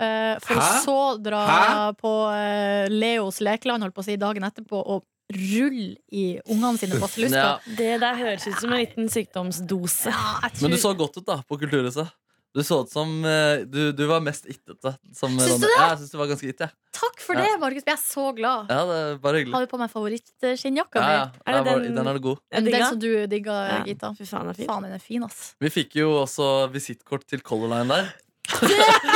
C: eh, For
B: Hæ?
C: så å dra
B: Hæ?
C: på eh, Leos lekeland holdt på å si, dagen etterpå og rulle i ungene sine basillusker.
D: Ja.
H: Det der høres ut som en liten sykdomsdose.
C: Ja, jeg
D: Men du
C: tror-
D: så godt ut da, på Kulturhuset. Du så ut som eh, Du, du var mest ittete. Som
C: Syns du
D: det? Ja, jeg syns du var ganske itt, jeg.
C: Takk for
D: Ja.
C: det, Markus. Jeg er så glad.
D: Ja, det er bare hyggelig.
C: Har du på meg favorittskinnjakka
D: Ja,
C: mi?
D: ja.
H: Er
D: Ja,
H: det
D: vår-
H: den-
D: den er du god.
H: Er
C: Den
H: det digga?
C: som du digga,
H: Ja.
C: Gita.
H: Fy faen, den er fin.
C: Faen, den er fin, ass.
D: Vi fikk jo også visittkort til Color Line der.
C: Det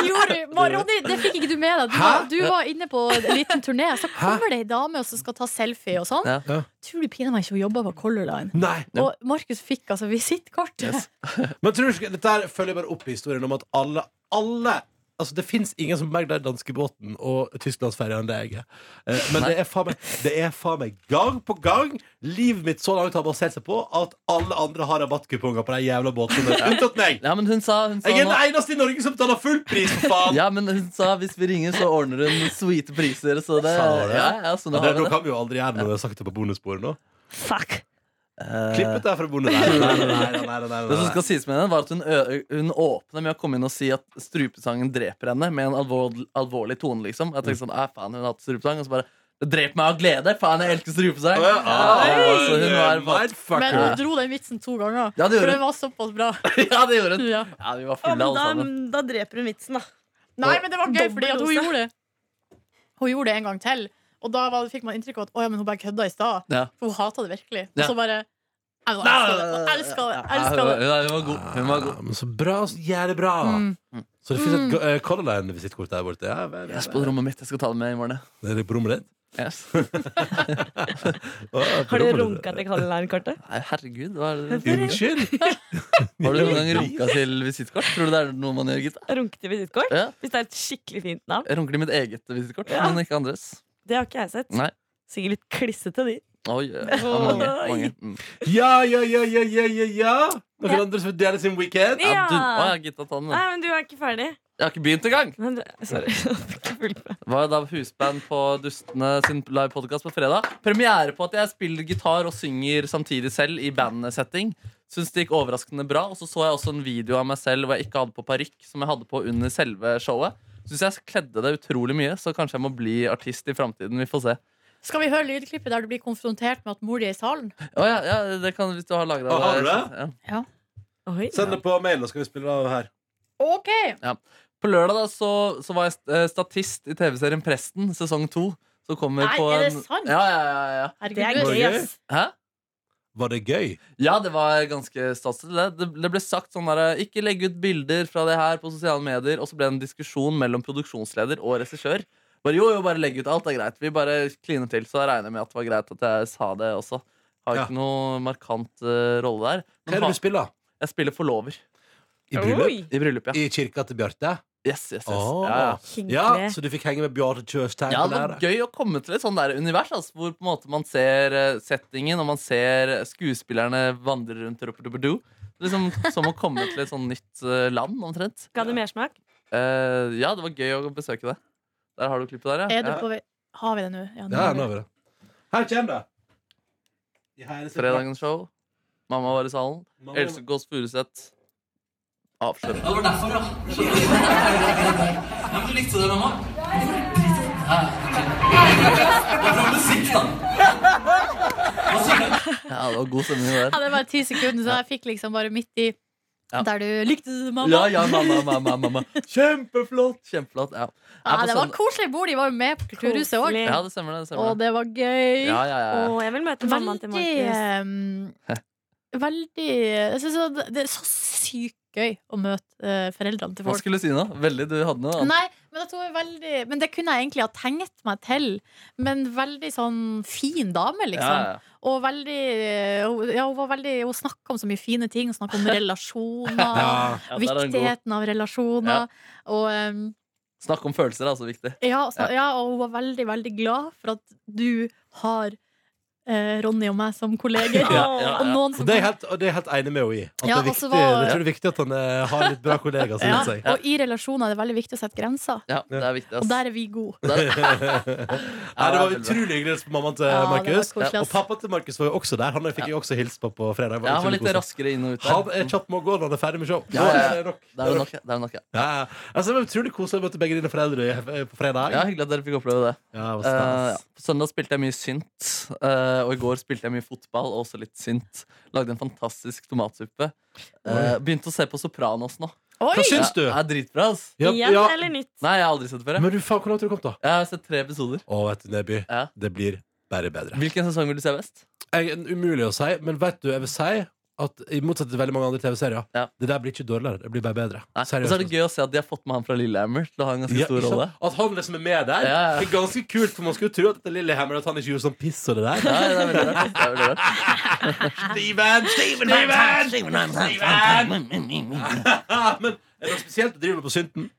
C: gjorde du! Men Ronny, det fikk ikke du med deg. Du var,
B: Hæ?
C: du var inne på en liten turné, så kommer det ei dame og så skal ta selfie og sånn.
D: Ja.
B: Ja.
C: Tror du pinadø meg ikke hun jobba på Color Line?
B: Nei!
C: Og Markus fikk altså visittkortet.
D: Yes.
B: Men tror du ikke Dette her følger bare opp i historien om at alle, alle Altså Det fins ingen som merker den danskebåten og tysklandsferja enn det jeg er. Eh, Men det er, faen meg, det er faen meg gang på gang livet mitt så langt har basert seg på at alle andre har rabattkuponger på de jævla båtene. Unntatt meg!
D: Ja, men hun sa, hun sa
B: Jeg er den
D: nå-
B: eneste i Norge som betaler full pris, for faen!
D: ja, men hun sa hvis vi ringer, så ordner hun sweete priser. Så det,
B: Sa hun det?
D: ja, ja, så
B: Ja,
D: nå
B: det,
D: har vi
B: da
D: det.
B: kan vi jo aldri gjøre noe. Vi har sagt det på bonussporet nå.
H: Fuck.
D: Eh,
B: Klipp ut det her fra bonus. Nei, nei, nei, nei, nei, nei, nei,
D: Det som
B: nei.
D: skal sies med henne var at Hun, ø- hun åpna med å komme inn og si at strupesangen dreper henne, med en alvorlig, alvorlig tone. liksom Jeg tenkte sånn, «Æ, faen, hun har hatt strupesang Og så bare Det dreper meg av glede! Faen, jeg elsker strupesang!
B: Ja,
D: Ja, så hun var bare,
B: Mindfucker.
C: Men hun dro den vitsen to ganger,
D: Ja, det gjorde
C: for
D: hun.
C: den var såpass bra.
D: ja, det gjorde hun!
C: Ja.
D: Ja, Vi var fulle, alle sammen.
H: dreper hun vitsen, da.
C: Nei, men det var gøy, fordi at hun
H: Dobbel dose.
C: gjorde det Hun gjorde det en gang til. Og da var, fikk man inntrykk av at Å, ja, men hun bare kødda i stad.
D: Ja.
C: For hun hata det virkelig. Og
D: Ja.
C: så bare Jeg elska det! Jeg elska det!
D: Ja, hun var god. Hun var
B: Ja,
D: god.
B: men så bra, så gjør det bra
C: Mm.
B: Så det finnes et go- eh, Color Line-visittkort der borte ja, vel,
D: Jeg er på rommet mitt. Jeg skal ta det med i morgen. jeg.
B: Det er på rommet ditt
D: Yes.
B: Å, ja, på
H: Har du
B: rommet ditt.
H: runka til Color Line-kartet?
D: Nei, herregud, hva er det?
B: Unnskyld
D: Har du noen gang runka til visittkort? Tror du det er noe man gjør, Gitta?
H: Runke til visittkort?
D: Ja.
H: Hvis det er et skikkelig fint navn.
D: Jeg runker til mitt eget visittkort,
H: Ja.
D: men ikke andres.
H: Det har ikke jeg sett.
D: Nei.
H: Sikkert litt klissete, de.
D: Oi, ja, mange, mange. Mm.
B: Ja, ja, ja, ja, ja, ja, ja Noen andre som vil dele sin weekend
D: Ja, du, å, ja, Gitta, ta den. da.
H: Nei, men du er ikke ferdig.
D: Jeg har ikke begynt engang!
H: Men du, sorry. Jeg fikk ikke fulgt med.
D: Var da husband på Dustene sin live podcast på fredag. Premiere på at jeg spiller gitar og synger samtidig selv i bandsetting. Syns det gikk overraskende bra. Og så så jeg også en video av meg selv hvor jeg ikke hadde på parykk, som jeg hadde på under selve showet. Syns jeg kledde det utrolig mye, så kanskje jeg må bli artist i framtiden. Vi får se.
C: Skal vi høre lydklippet der du blir konfrontert med at mor di er i salen?
D: Å ja, ja, det kan hvis du har lagra
B: Å, har du det?
D: Ja.
H: Oi.
B: Send det på mail, nå skal vi spille av her
C: OK!
D: På lørdag da, så, så var jeg st- eh, statist i TV-serien Presten, sesong to. Som kommer
C: Nei,
D: på
C: er det
D: en-
C: sant?
D: Ja, ja, ja, ja.
C: Herregud,
H: Det er
C: du
B: Var
H: gøy,
B: det gøy?
H: ass.
D: Hæ?
B: Var det gøy?
D: Ja, det var ganske statslig. Det, det, det ble sagt sånn der Ikke legge ut bilder fra det her på sosiale medier. Og så ble det en diskusjon mellom produksjonsleder og regissør. Bare, jo, jo, bare legg ut alt, det er greit. Vi bare kliner til. Så jeg regner med at det var greit at jeg sa det også. Har
B: Ja.
D: ikke noe markant eh, rolle
B: Hva
D: der.
B: er
D: Men
B: det
D: ha,
B: du spiller?
D: jeg spiller forlover.
B: I bryllup?
H: Oi,
D: I bryllup, ja.
B: I kirka til Bjarte?
D: Yes, yes, yes.
B: Åh.
D: Ja, ja.
H: hyggelig.
B: Ja, så du fikk henge med Bjarte Tjøstheim?
D: Ja, det
B: der,
D: var gøy å komme til et sånt der univers altså, hvor på en måte man ser eh, settingen og man ser skuespillerne vandre rundt. og rope du, du, du. Liksom, som å komme til et sånt nytt eh, land, omtrent.
H: Ga det mersmak?
D: Eh, ja, det var gøy å besøke det. Der har du klippet der, ja.
I: Er du
D: ja.
I: på vei Har vi det nå? Ja, nå
B: Ja,
I: har vi det.
B: nå er vi det. Her kommer det! I hele sitt
D: Fredagens show. Mamma var i salen.
B: Mamma-
D: Else Kåss Furuseth. Avslørt.
J: Det var derfor, ja. ja men du likte det, mamma? Det var musikk, da. Hva sier du?
D: Ja, det var god stemning der.
C: Ja, det var ti sekunder, så jeg fikk liksom bare midt i
D: Ja.
C: der du likte det, mamma.
D: Ja, ja, mamma, mamma, mamma. Kjempeflott! Kjempeflott, ja.
C: Ja,
D: Jeg er på
C: Ah, det var
D: søndag-
C: koselig. Bor de var jo med på Kulturhuset òg.
H: Koselig.
D: Ja, det stemmer det. det,
C: Og
D: stemmer det.
C: det var gøy.
D: Ja, ja, ja.
H: Å, jeg vil møte mammaen til
C: Veldig
H: Markus.
C: eh, Veldig Jeg synes det- det er så sykt gøy å møte eh, foreldrene til
D: Hva
C: folk.
D: skulle du si nå? Veldig, du hadde noe annet.
C: Nei, men, at hun er veldig, men det kunne jeg egentlig ha tenkt meg til. Men veldig sånn fin dame, liksom.
D: Ja, ja.
C: Og veldig hun- Ja, hun var veldig Hun snakka om så mye fine ting. Hun snakka om relasjoner.
B: Ja.
D: Ja, der er den god.
C: Viktigheten av relasjoner. Og, um,
D: Snakk om følelser er altså viktig.
C: ja, og snak- ja, og hun var veldig, veldig glad for at du har eh, Ronny og meg som kolleger.
D: Ja, ja,
C: Og
D: ja.
C: noen
B: Og
C: som
B: det er jeg helt, og det er jeg helt enig med henne i. At det er
C: Ja, og så
D: altså,
B: viktig,
C: var-
B: Jeg tror det er viktig at han eh, har litt bra kollegaer.
C: ja,
B: synes jeg.
C: og i relasjoner er det veldig viktig å sette grenser.
D: Ja, det er viktig, ass.
C: Og der er vi gode.
B: Nei, det var utrolig hyggelig hilsen på mammaen til
C: Ja, det var
B: Markus.
C: koselig, ass.
B: Og pappaen til Markus var jo også der. Han fikk jeg også hilse på på fredag. Det var
D: Ja, han var
B: utrolig
D: litt
B: koselig.
D: raskere inn og ut.
B: Han
D: der.
B: er kjapp med å gå når han er ferdig med show.
D: Ja, ja, ja.
B: Nå er det nok.
D: Det er jo nok, det er jo nok, ja.
B: Ja, ja. altså, det var utrolig koselig å møte begge dine foreldre i- på fredag.
D: ja, hyggelig at dere fikk oppleve det.
B: Ja, det var
D: Eh,
B: stas.
D: ja. På søndag spilte jeg mye synt, eh, og i går spilte jeg mye fotball, og også litt synt. Lagde en fantastisk tomatsuppe. Eh, begynte å se på Sopranos nå.
B: Hva
D: Ja,
B: syns du?
D: Det er dritbra, ass.
B: Ja,
H: Igjen
B: ja.
H: eller nytt?
D: Nei, jeg har aldri sett det før. Jeg.
B: Men du, faen, hvor langt har du kommet, da?
D: jeg har sett tre episoder.
B: Å, vet du, Neby.
D: Ja.
B: Det blir bare bedre.
D: Hvilken sesong vil du se best?
B: jeg, umulig å si, men vet du, jeg vil si at i motsetning til veldig mange andre TV-serier,
D: Ja.
B: det der blir ikke dårligere, det blir bare bedre.
D: Nei. Og så er det gøy å se at de har fått med han fra Lillehammer til å ha en ganske
B: altså. Ja, ikke
D: stor
B: sant?
D: rolle.
B: At han liksom er med der,
D: Ja, ja.
B: det er ganske kult, for man skulle tro at dette Lillehammer at han ikke gjorde sånn piss og det der.
D: Ja, det er veldig rart, ass. Det er veldig rart.
B: Steven! Steven! Steven! men er det noe spesielt du driver med på synten? Er det noe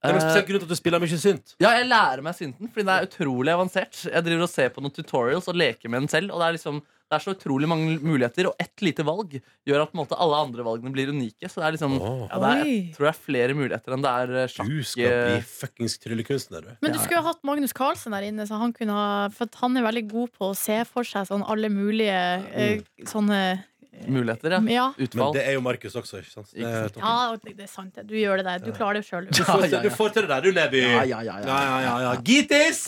D: Eh,
B: spesielt grunn til at du spiller mye synt?
D: Ja, jeg lærer meg synten, fordi den er utrolig avansert. Jeg driver og ser på noen tutorials og leker med den selv. Og det er liksom det er så utrolig mange muligheter, og ett lite valg gjør at på en måte, alle andre valgene blir unike. Så det er liksom
B: Åh.
D: ja, det er, Jeg
C: Oi.
D: tror det er flere muligheter enn det er eh, sjakk.
B: Du skal bli fuckings tryllekunstner, du.
C: Men du skulle ha hatt Magnus Carlsen der inne, så han kunne ha, for at han er veldig god på å se for seg sånn alle mulige
B: Mm.
C: eh, sånne
D: eh, Muligheter, ja.
C: Ja.
B: Men
D: Utfall.
B: det er jo Markus også, ikke sant? Det er
D: Ikke sant.
B: toppen.
C: Ja, det er sant. det. Du gjør det der. Du klarer det sjøl.
B: Du får,
D: Ja, ja, ja.
B: du får til det der, du, Neby. Ja, ja, ja. ja, ja, Gitis!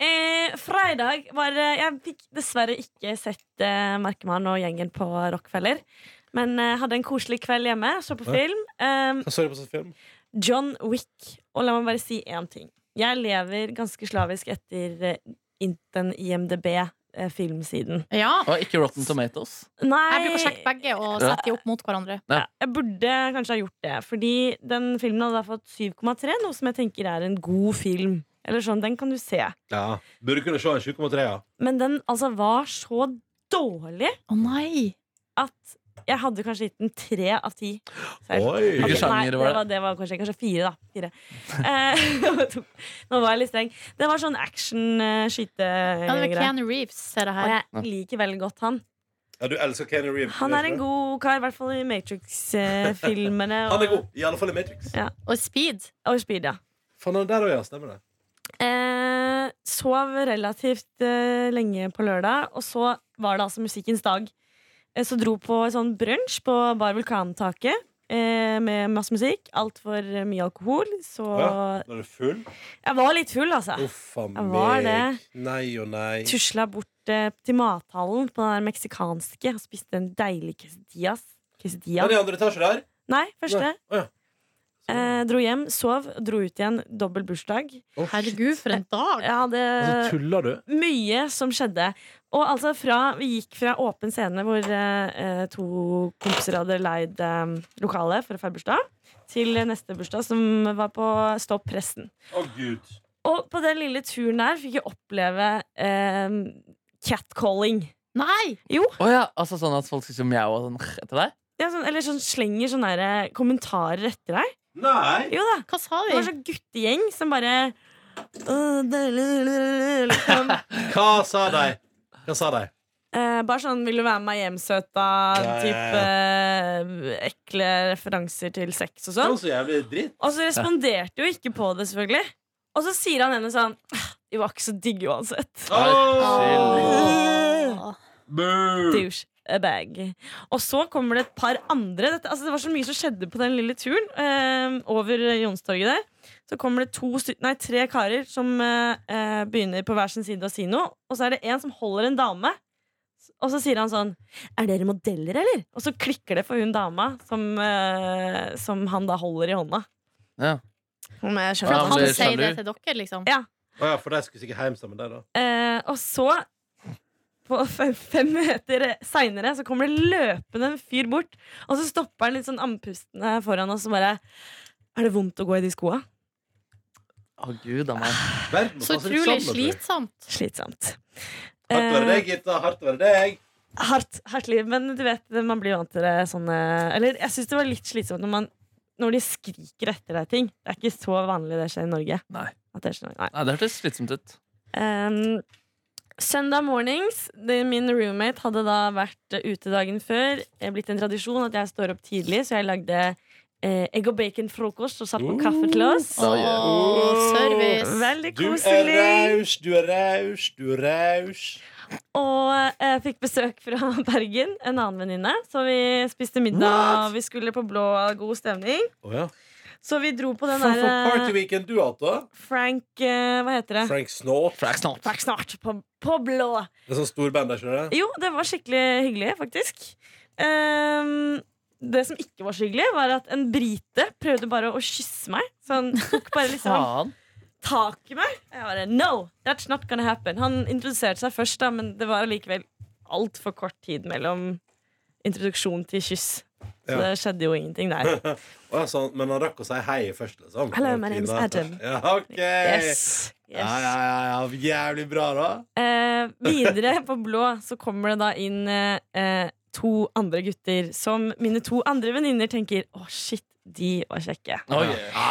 H: Eh, fredag var eh, Jeg fikk dessverre ikke sett eh, Markemann og gjengen på Rockefeller. Men eh, hadde en koselig kveld hjemme, så på
B: Ja.
H: film. Eh,
B: Hva så du på sånn film?
H: John Wick. Og la meg bare si én ting. Jeg lever ganske slavisk etter eh, in- den IMDb-filmsiden.
C: Ja.
D: Og ikke Rotten Tomatoes.
H: eh, Nei
C: Jeg bruker å sjekke begge og sette de opp mot hverandre.
H: Ja, jeg burde kanskje ha gjort det, fordi den filmen hadde da fått 7,3, noe som jeg tenker er en god film. Eller sånn, Den kan du se.
B: Ja. Burde kunne se en 7,3, ja.
H: Men den altså var så dårlig
C: Å nei!
H: at jeg hadde kanskje gitt den tre av ti. selv.
B: Oi!
H: Ok,
D: Hvilke
H: nei,
D: sjanger
H: det
D: var det?
H: var, det var kanskje, kanskje fire, da. Fire. Eh, Nå var jeg litt streng. Det var sånn
C: Ja, det var
H: action-skytegreier.
C: Keanu Reeves, ser jeg
H: Og
C: her.
H: eh, jeg liker veldig godt han.
B: Ja, du elsker Keanu Reeves.
H: Han er en god kar, i hvert fall i eh, Matrix-filmene.
B: Han er god, i alle fall i Matrix.
C: Og Speed.
H: Og, og Speed, ja.
B: Faen, han er der også, ja. Stemmer det.
H: Eh, sov relativt eh, lenge på lørdag, og så var det altså musikkens dag. Eh, så dro på en sånn brunsj på Bar Vulkantaket eh, med masse musikk. Altfor mye alkohol, så
B: Ja. Når du er full?
H: Jeg var litt full, altså.
B: Uff a
H: Jeg var
B: meg. Nei og nei.
H: Tusla bort eh, til mathallen på den der meksikanske og spiste en deilig quesadillas. Quesadilla.
B: Han er i andre etasje der.
H: Nei, første.
B: Nei. Å, ja.
H: Eh, dro hjem, sov, dro ut igjen. Dobbel bursdag.
B: Å, shit.
C: Herregud, for en dag!
H: Jeg hadde
D: Eh,
B: Og
D: Altså,
B: så Altså, tuller du.
H: mye som skjedde. Og altså fra, Vi gikk fra åpen scene, hvor eh, eh, to kompiser hadde leid eh, lokale for å feire bursdag, til neste bursdag, som var på Stopp pressen.
B: Å, gud.
H: Og på den lille turen der fikk jeg oppleve eh, catcalling.
C: Nei!
D: Å ja, altså sånn at folk skal mjaue og sånn etter deg?
H: Ja, sånn, eller sånn slenger sånne der, eh, kommentarer etter deg.
J: Nei.
H: Jo da.
C: Hva sa
H: Det
C: vi?
H: var sånn guttegjeng som bare «Åh, deilig, deilig, deilig», liksom.
B: Hva sa de? Hva sa de?
H: Eh, bare sånn 'vil du være med meg hjem, søta'? Typ eh, ekle referanser til sex og sånn.
B: så jævlig dritt.
H: Og så responderte jo ikke på det, selvfølgelig. Og så sier han ene sånn «Ah, De var ikke så digge uansett.
C: Åh.
H: Douche. Bag. Og så kommer det et par andre. Dette, altså det var så mye som skjedde på den lille turen eh, over Jonstorget der. Så kommer det to, sty- nei, tre karer som eh, eh, begynner på hver sin side å si noe. Og så er det en som holder en dame. Og så sier han sånn Er dere modeller, eller? Og så klikker det for hun dama som, eh, som han da holder i hånda.
D: Ja.
H: Om jeg skjønner
C: For
D: Ja,
C: at
D: men
C: han
D: det
C: sier det
D: skjønner du.
C: til dere, liksom.
H: Ja.
B: Å ja, for de skulle sikkert hjem sammen, de, da.
H: Eh, og så, på fem, fem meter seinere, så kommer det løpende en fyr bort. Og så stopper han litt sånn andpustende foran oss og bare Er det vondt å gå i de skoa?
D: Å gud, da, man.
B: Verden må
C: Så
B: ta seg litt
C: utrolig
B: sammen, tror jeg.
C: slitsomt.
H: Slitsomt.
B: Hardt å være
H: Eh,
B: deg, Gitta. Hardt å være deg.
H: hardt, hardt liv. Men du vet, man blir vant til det sånne Eller jeg syns det var litt slitsomt når, man, når de skriker etter deg ting. Det er ikke så vanlig det skjer i Norge.
D: Nei.
H: At det skjer, nei.
D: Nei, det hørtes slitsomt ut.
H: Um, søndag mornings det, Min roommate hadde da vært eh, ute dagen før. Det er blitt en tradisjon at jeg står opp tidlig, så jeg lagde eh, egg og bacon-frokost og satt på kaffe til oss.
C: Åh, service.
H: Veldig
B: Du er
H: koselig.
B: raus, du er raus, du er raus.
H: Og eh, fikk besøk fra Bergen, en annen venninne. Så vi spiste middag, og vi skulle på blå god stemning.
B: Å ja.
H: Så vi dro på den
B: For for party
H: der eh,
B: weekend du hatt, da?
H: Frank eh, Hva heter det?
B: Frank Snort.
H: Frank snart. På, på blå.
B: Det er sånn storband der, skjønner du.
H: Jo, det var skikkelig hyggelig, faktisk. Ehm, det som ikke var så hyggelig, var at en brite prøvde bare å kysse meg. Så han tok bare liksom
D: Faen.
H: tak i meg. Jeg bare, no, that's not gonna happen Han introduserte seg først, da, men det var allikevel altfor kort tid mellom introduksjon til kyss. Så
B: Ja.
H: det skjedde jo ingenting der.
B: Å ja, sånn, men han rakk å si hei først, liksom.
H: Hello,
B: Og
H: my name is
B: Tina
H: Adam.
B: først. Ja, ok
H: Yes, yes.
B: Ja, ja, ja, ja. Jævlig bra, da.
H: Eh, videre på blå så kommer det da inn eh, eh, to andre gutter som mine to andre venninner tenker Å, shit, de var kjekke.
D: Oi. Ja.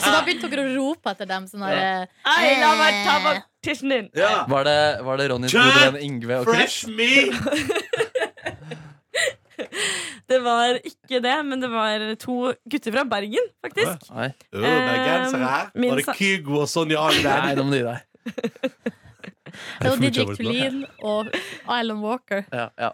C: Så da begynte dere å rope etter dem. Sånn eh, her,
H: Ei, la meg ta bak tissen din!
B: Ja.
D: Var det, var det Ronny,
B: Chat!
D: Tore, Yngve og Chris?
B: Fresh me!
H: Det var ikke det, men det var to gutter fra Bergen, faktisk.
D: Nei,
B: Jo, bergensere her.
H: Ehm, min
B: Var det
H: sa-
B: Kygo og Sonja
D: Nei,
B: Agder?
D: nå må du gi deg.
C: eh, det var Didrik Tulin og Island Walker.
D: Ja, ja.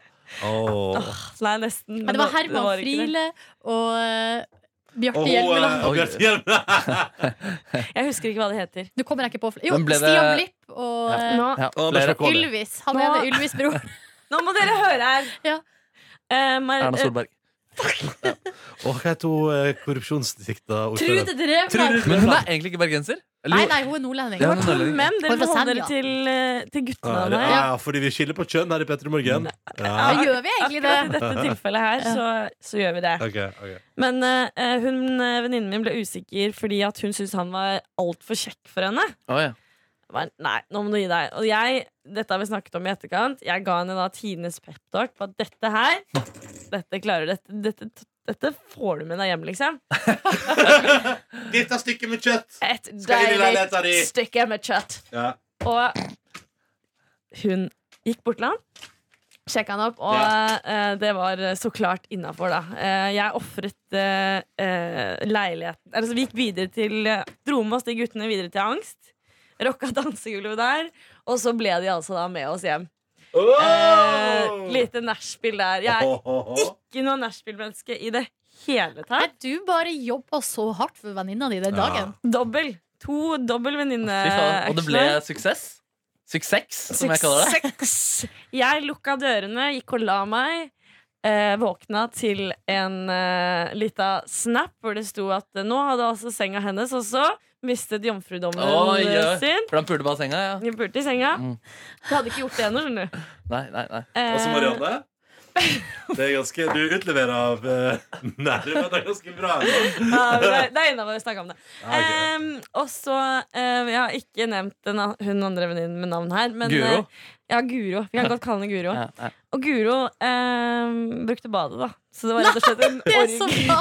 B: Åh.
H: Nei, nesten.
C: Nei, det var Herman
H: var ikke det.
C: Friele og eh,
B: Og hun
C: Bjarte
B: eh,
C: Hjelmeland.
B: og Bjarte Hjelmeland.
H: Jeg husker ikke hva det heter.
C: Du kommer jeg ikke på fl- Jo,
D: Men ble det-
C: Stian Blipp og
D: Ja.
C: eh,
H: Nå,
D: ja.
B: Å, det er
D: Flere.
B: så kål.
C: Ylvis. Han ene
H: Nå-
C: Ylvis' bror.
H: nå må dere høre her!
C: Ja.
H: Eh, Mar
D: Erna Solberg.
B: Og hva heter hun eh, korrupsjonsdikta ordføreren?
C: Trude Drevland.
B: Trude
D: Men hun er egentlig ikke bergenser.
C: Nei,
D: Eller,
C: nei, hun er nordlending.
D: Ja, hun er
H: det var to
D: nordlending.
H: menn. Dere
C: Var det
H: må
C: fra
H: holde dere
C: Senja?
H: til, eh, til guttene.
B: Ja, det-
H: her.
B: ja, ja, fordi vi skiller på kjønn her i Petter i morgen. Ja.
C: Ja, gjør vi egentlig det?
H: Akkurat i dette tilfellet her, så, så gjør vi det.
B: Ok, ok.
H: Men eh, hun, eh, venninnen min ble usikker fordi at hun syntes han var altfor kjekk for henne.
D: Å, ja.
H: Jeg Bare, nei, nå må du gi deg. Og jeg, dette har vi snakket om i etterkant, jeg ga henne da tidenes peptalk på at dette her, dette klarer du, dette, dette, dette får du med deg hjem, liksom.
B: Dette stykket med kjøtt!
H: Et
B: Skal inn i leiligheta
H: deilig
B: di.
H: stykke med kjøtt.
B: Ja.
H: Og hun gikk bort til han. Sjekka han opp, og eh, det var så klart innafor, da. Eh, jeg ofret eh, eh, leiligheten altså, Vi gikk videre til eh, Dro med oss de guttene videre til Angst. Rocka dansegulvet der. Og så ble de altså da med oss hjem. Eh,
B: Oh!
H: lite nachspiel der. Jeg er
B: Ho, ho, ho.
H: ikke noe nachspiel-menneske i det
C: Nei,
H: hele tatt.
C: du bare jobba så hardt for venninna di den dagen.
H: Dobbel. To dobbel
D: Fy
H: eh,
D: faen. Og det ble
H: venninneaksjer.
D: suksess. Suksess, som jeg kaller det.
H: Jeg lukka dørene, gikk og la meg. Eh, våkna til en eh, lita snap hvor det sto at eh, nå hadde altså senga hennes også mistet jomfrudommen
D: Oi,
H: eh,
D: ja.
H: sin.
D: For han pulte bare senga, ja.
H: Hun pulte i senga.
D: Mm.
H: Jeg hadde ikke gjort det ennå, skjønner du.
D: Nei, nei, nei.
H: Eh,
B: Og så Marianne? Det er ganske, du utleverer av eh, nerver. Det er ganske bra.
H: Eh, Ja, det er- det er innafor å snakke om det.
B: Ja, ok.
H: Em, og så eh, Jeg har ikke nevnt den, a- hun andre venninnen med navn her. Men,
D: Guro?
H: eh, ja, Guro. Vi kan godt kalle henne Guro.
D: Ja, ja.
H: Og Guro em, brukte badet, da. Så det var rett og slett en
C: Det er så
H: org.
C: bra!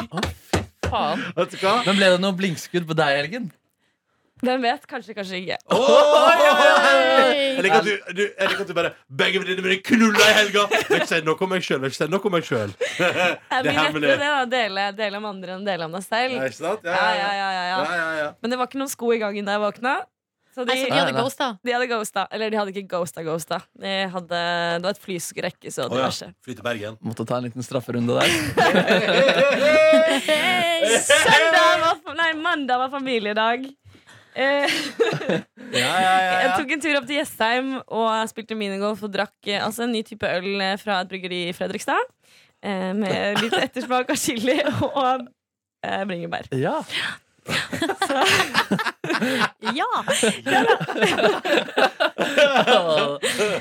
D: Faen.
B: Vet du hva?
D: Men ble det noe blinkskudd på deg, Elgen?
H: Hvem vet? Kanskje, kanskje ikke.
B: Jeg liker at du, du, jeg liker at du bare Begge venninnene mine knulla i helga! Jeg vil ikke si noe om meg sjøl. Si noe om meg sjøl.
H: Det
B: Det
H: blir
B: er
H: lettere
B: hemmelig.
H: det, da. Dele, dele om andre enn dele om deg selv.
B: Ja, ikke sant?
H: Ja, ja, ja, ja, ja.
B: ja, ja.
H: Men det var ikke noen sko i gangen da jeg våkna. Så de,
C: Nei, så de hadde ghosta.
H: de hadde ghosta. Eller de hadde ikke ghosta ghosta. De hadde, det var et flyskrekke, så
B: Å ja.
H: diverse.
B: Fly til Bergen.
D: Måtte ta en liten strafferunde der.
H: Søndag var, fa- nei, mandag var familiedag. Eh,
B: Ja, ja, ja,
H: jeg
B: ja.
H: tok en tur opp til Jessheim og spilte minigolf og drakk eh, altså, en ny type øl eh, fra et bryggeri i Fredrikstad. Eh, med litt ettersmak av chili og eh, bringebær.
D: Ja.
C: Ja!
D: Det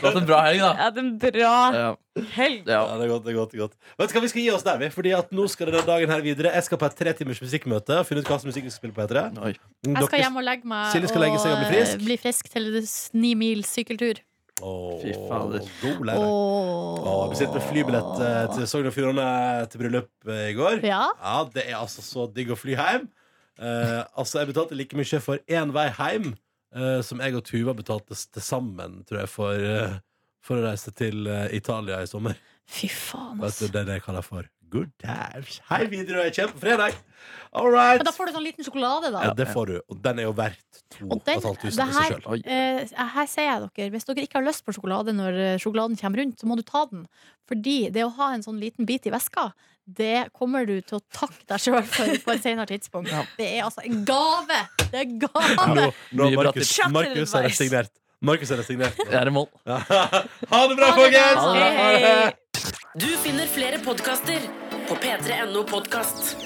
D: var en bra helg,
H: Jeg
D: da.
H: hadde en bra
D: Ja.
H: helg.
D: ja.
B: Ja, det er godt, det er godt, det er godt. Vet du hva, Vi skal gi oss der, vi. Fordi at nå skal det den dagen her videre. Jeg skal på et tre timers musikkmøte og finne ut hva slags musikk vi skal spille på. E Mm, Etter det.
D: Oi.
C: Jeg skal hjem og legge meg
B: Silje skal legge seg og bli frisk.
C: eh, bli frisk til s- ni mils sykkeltur.
B: Åh,
D: Fy fader.
B: God
C: Åh.
B: lærdag. Åh, Bestilte flybillett eh, til Sogn og Fjordane til bryllup eh, i går.
C: Ja.
B: det er altså så digg å fly hjem. Eh, altså, jeg betalte like mye for én vei hjem eh, som jeg og Tuva betalte s- til sammen, tror jeg, for, eh, for å reise til eh, Italia i sommer.
C: Fy faen,
B: Vet
C: altså.
B: du, det er det jeg kaller for good times. Hei, Widerøe. Jeg kommer på fredag. All right.
C: Men da får du sånn liten sjokolade, da.
B: Ja, det får du. Og den er jo verdt to og
C: Og
B: et
C: den,
B: halvt tusen i
C: det
B: seg
C: her,
B: sjøl.
D: Oi.
C: eh, her sier jeg dere Hvis dere ikke har lyst på sjokolade når eh, sjokoladen kommer rundt, så må du ta den. Fordi det å ha en sånn liten bit i veska, det kommer du til å takke deg sjøl for på et senere tidspunkt. Det er altså en gave! Det er gave!
B: Nå, nå
D: Mye bra
B: Markus,
H: tips.
B: Markus er resignert. Markus er resignert.
D: Jeg er i mål.
B: Ja. Ha det bra,
C: Ha det bra.
B: folkens!
C: Hei, hei.
A: Du finner flere podkaster på p3.no podkast.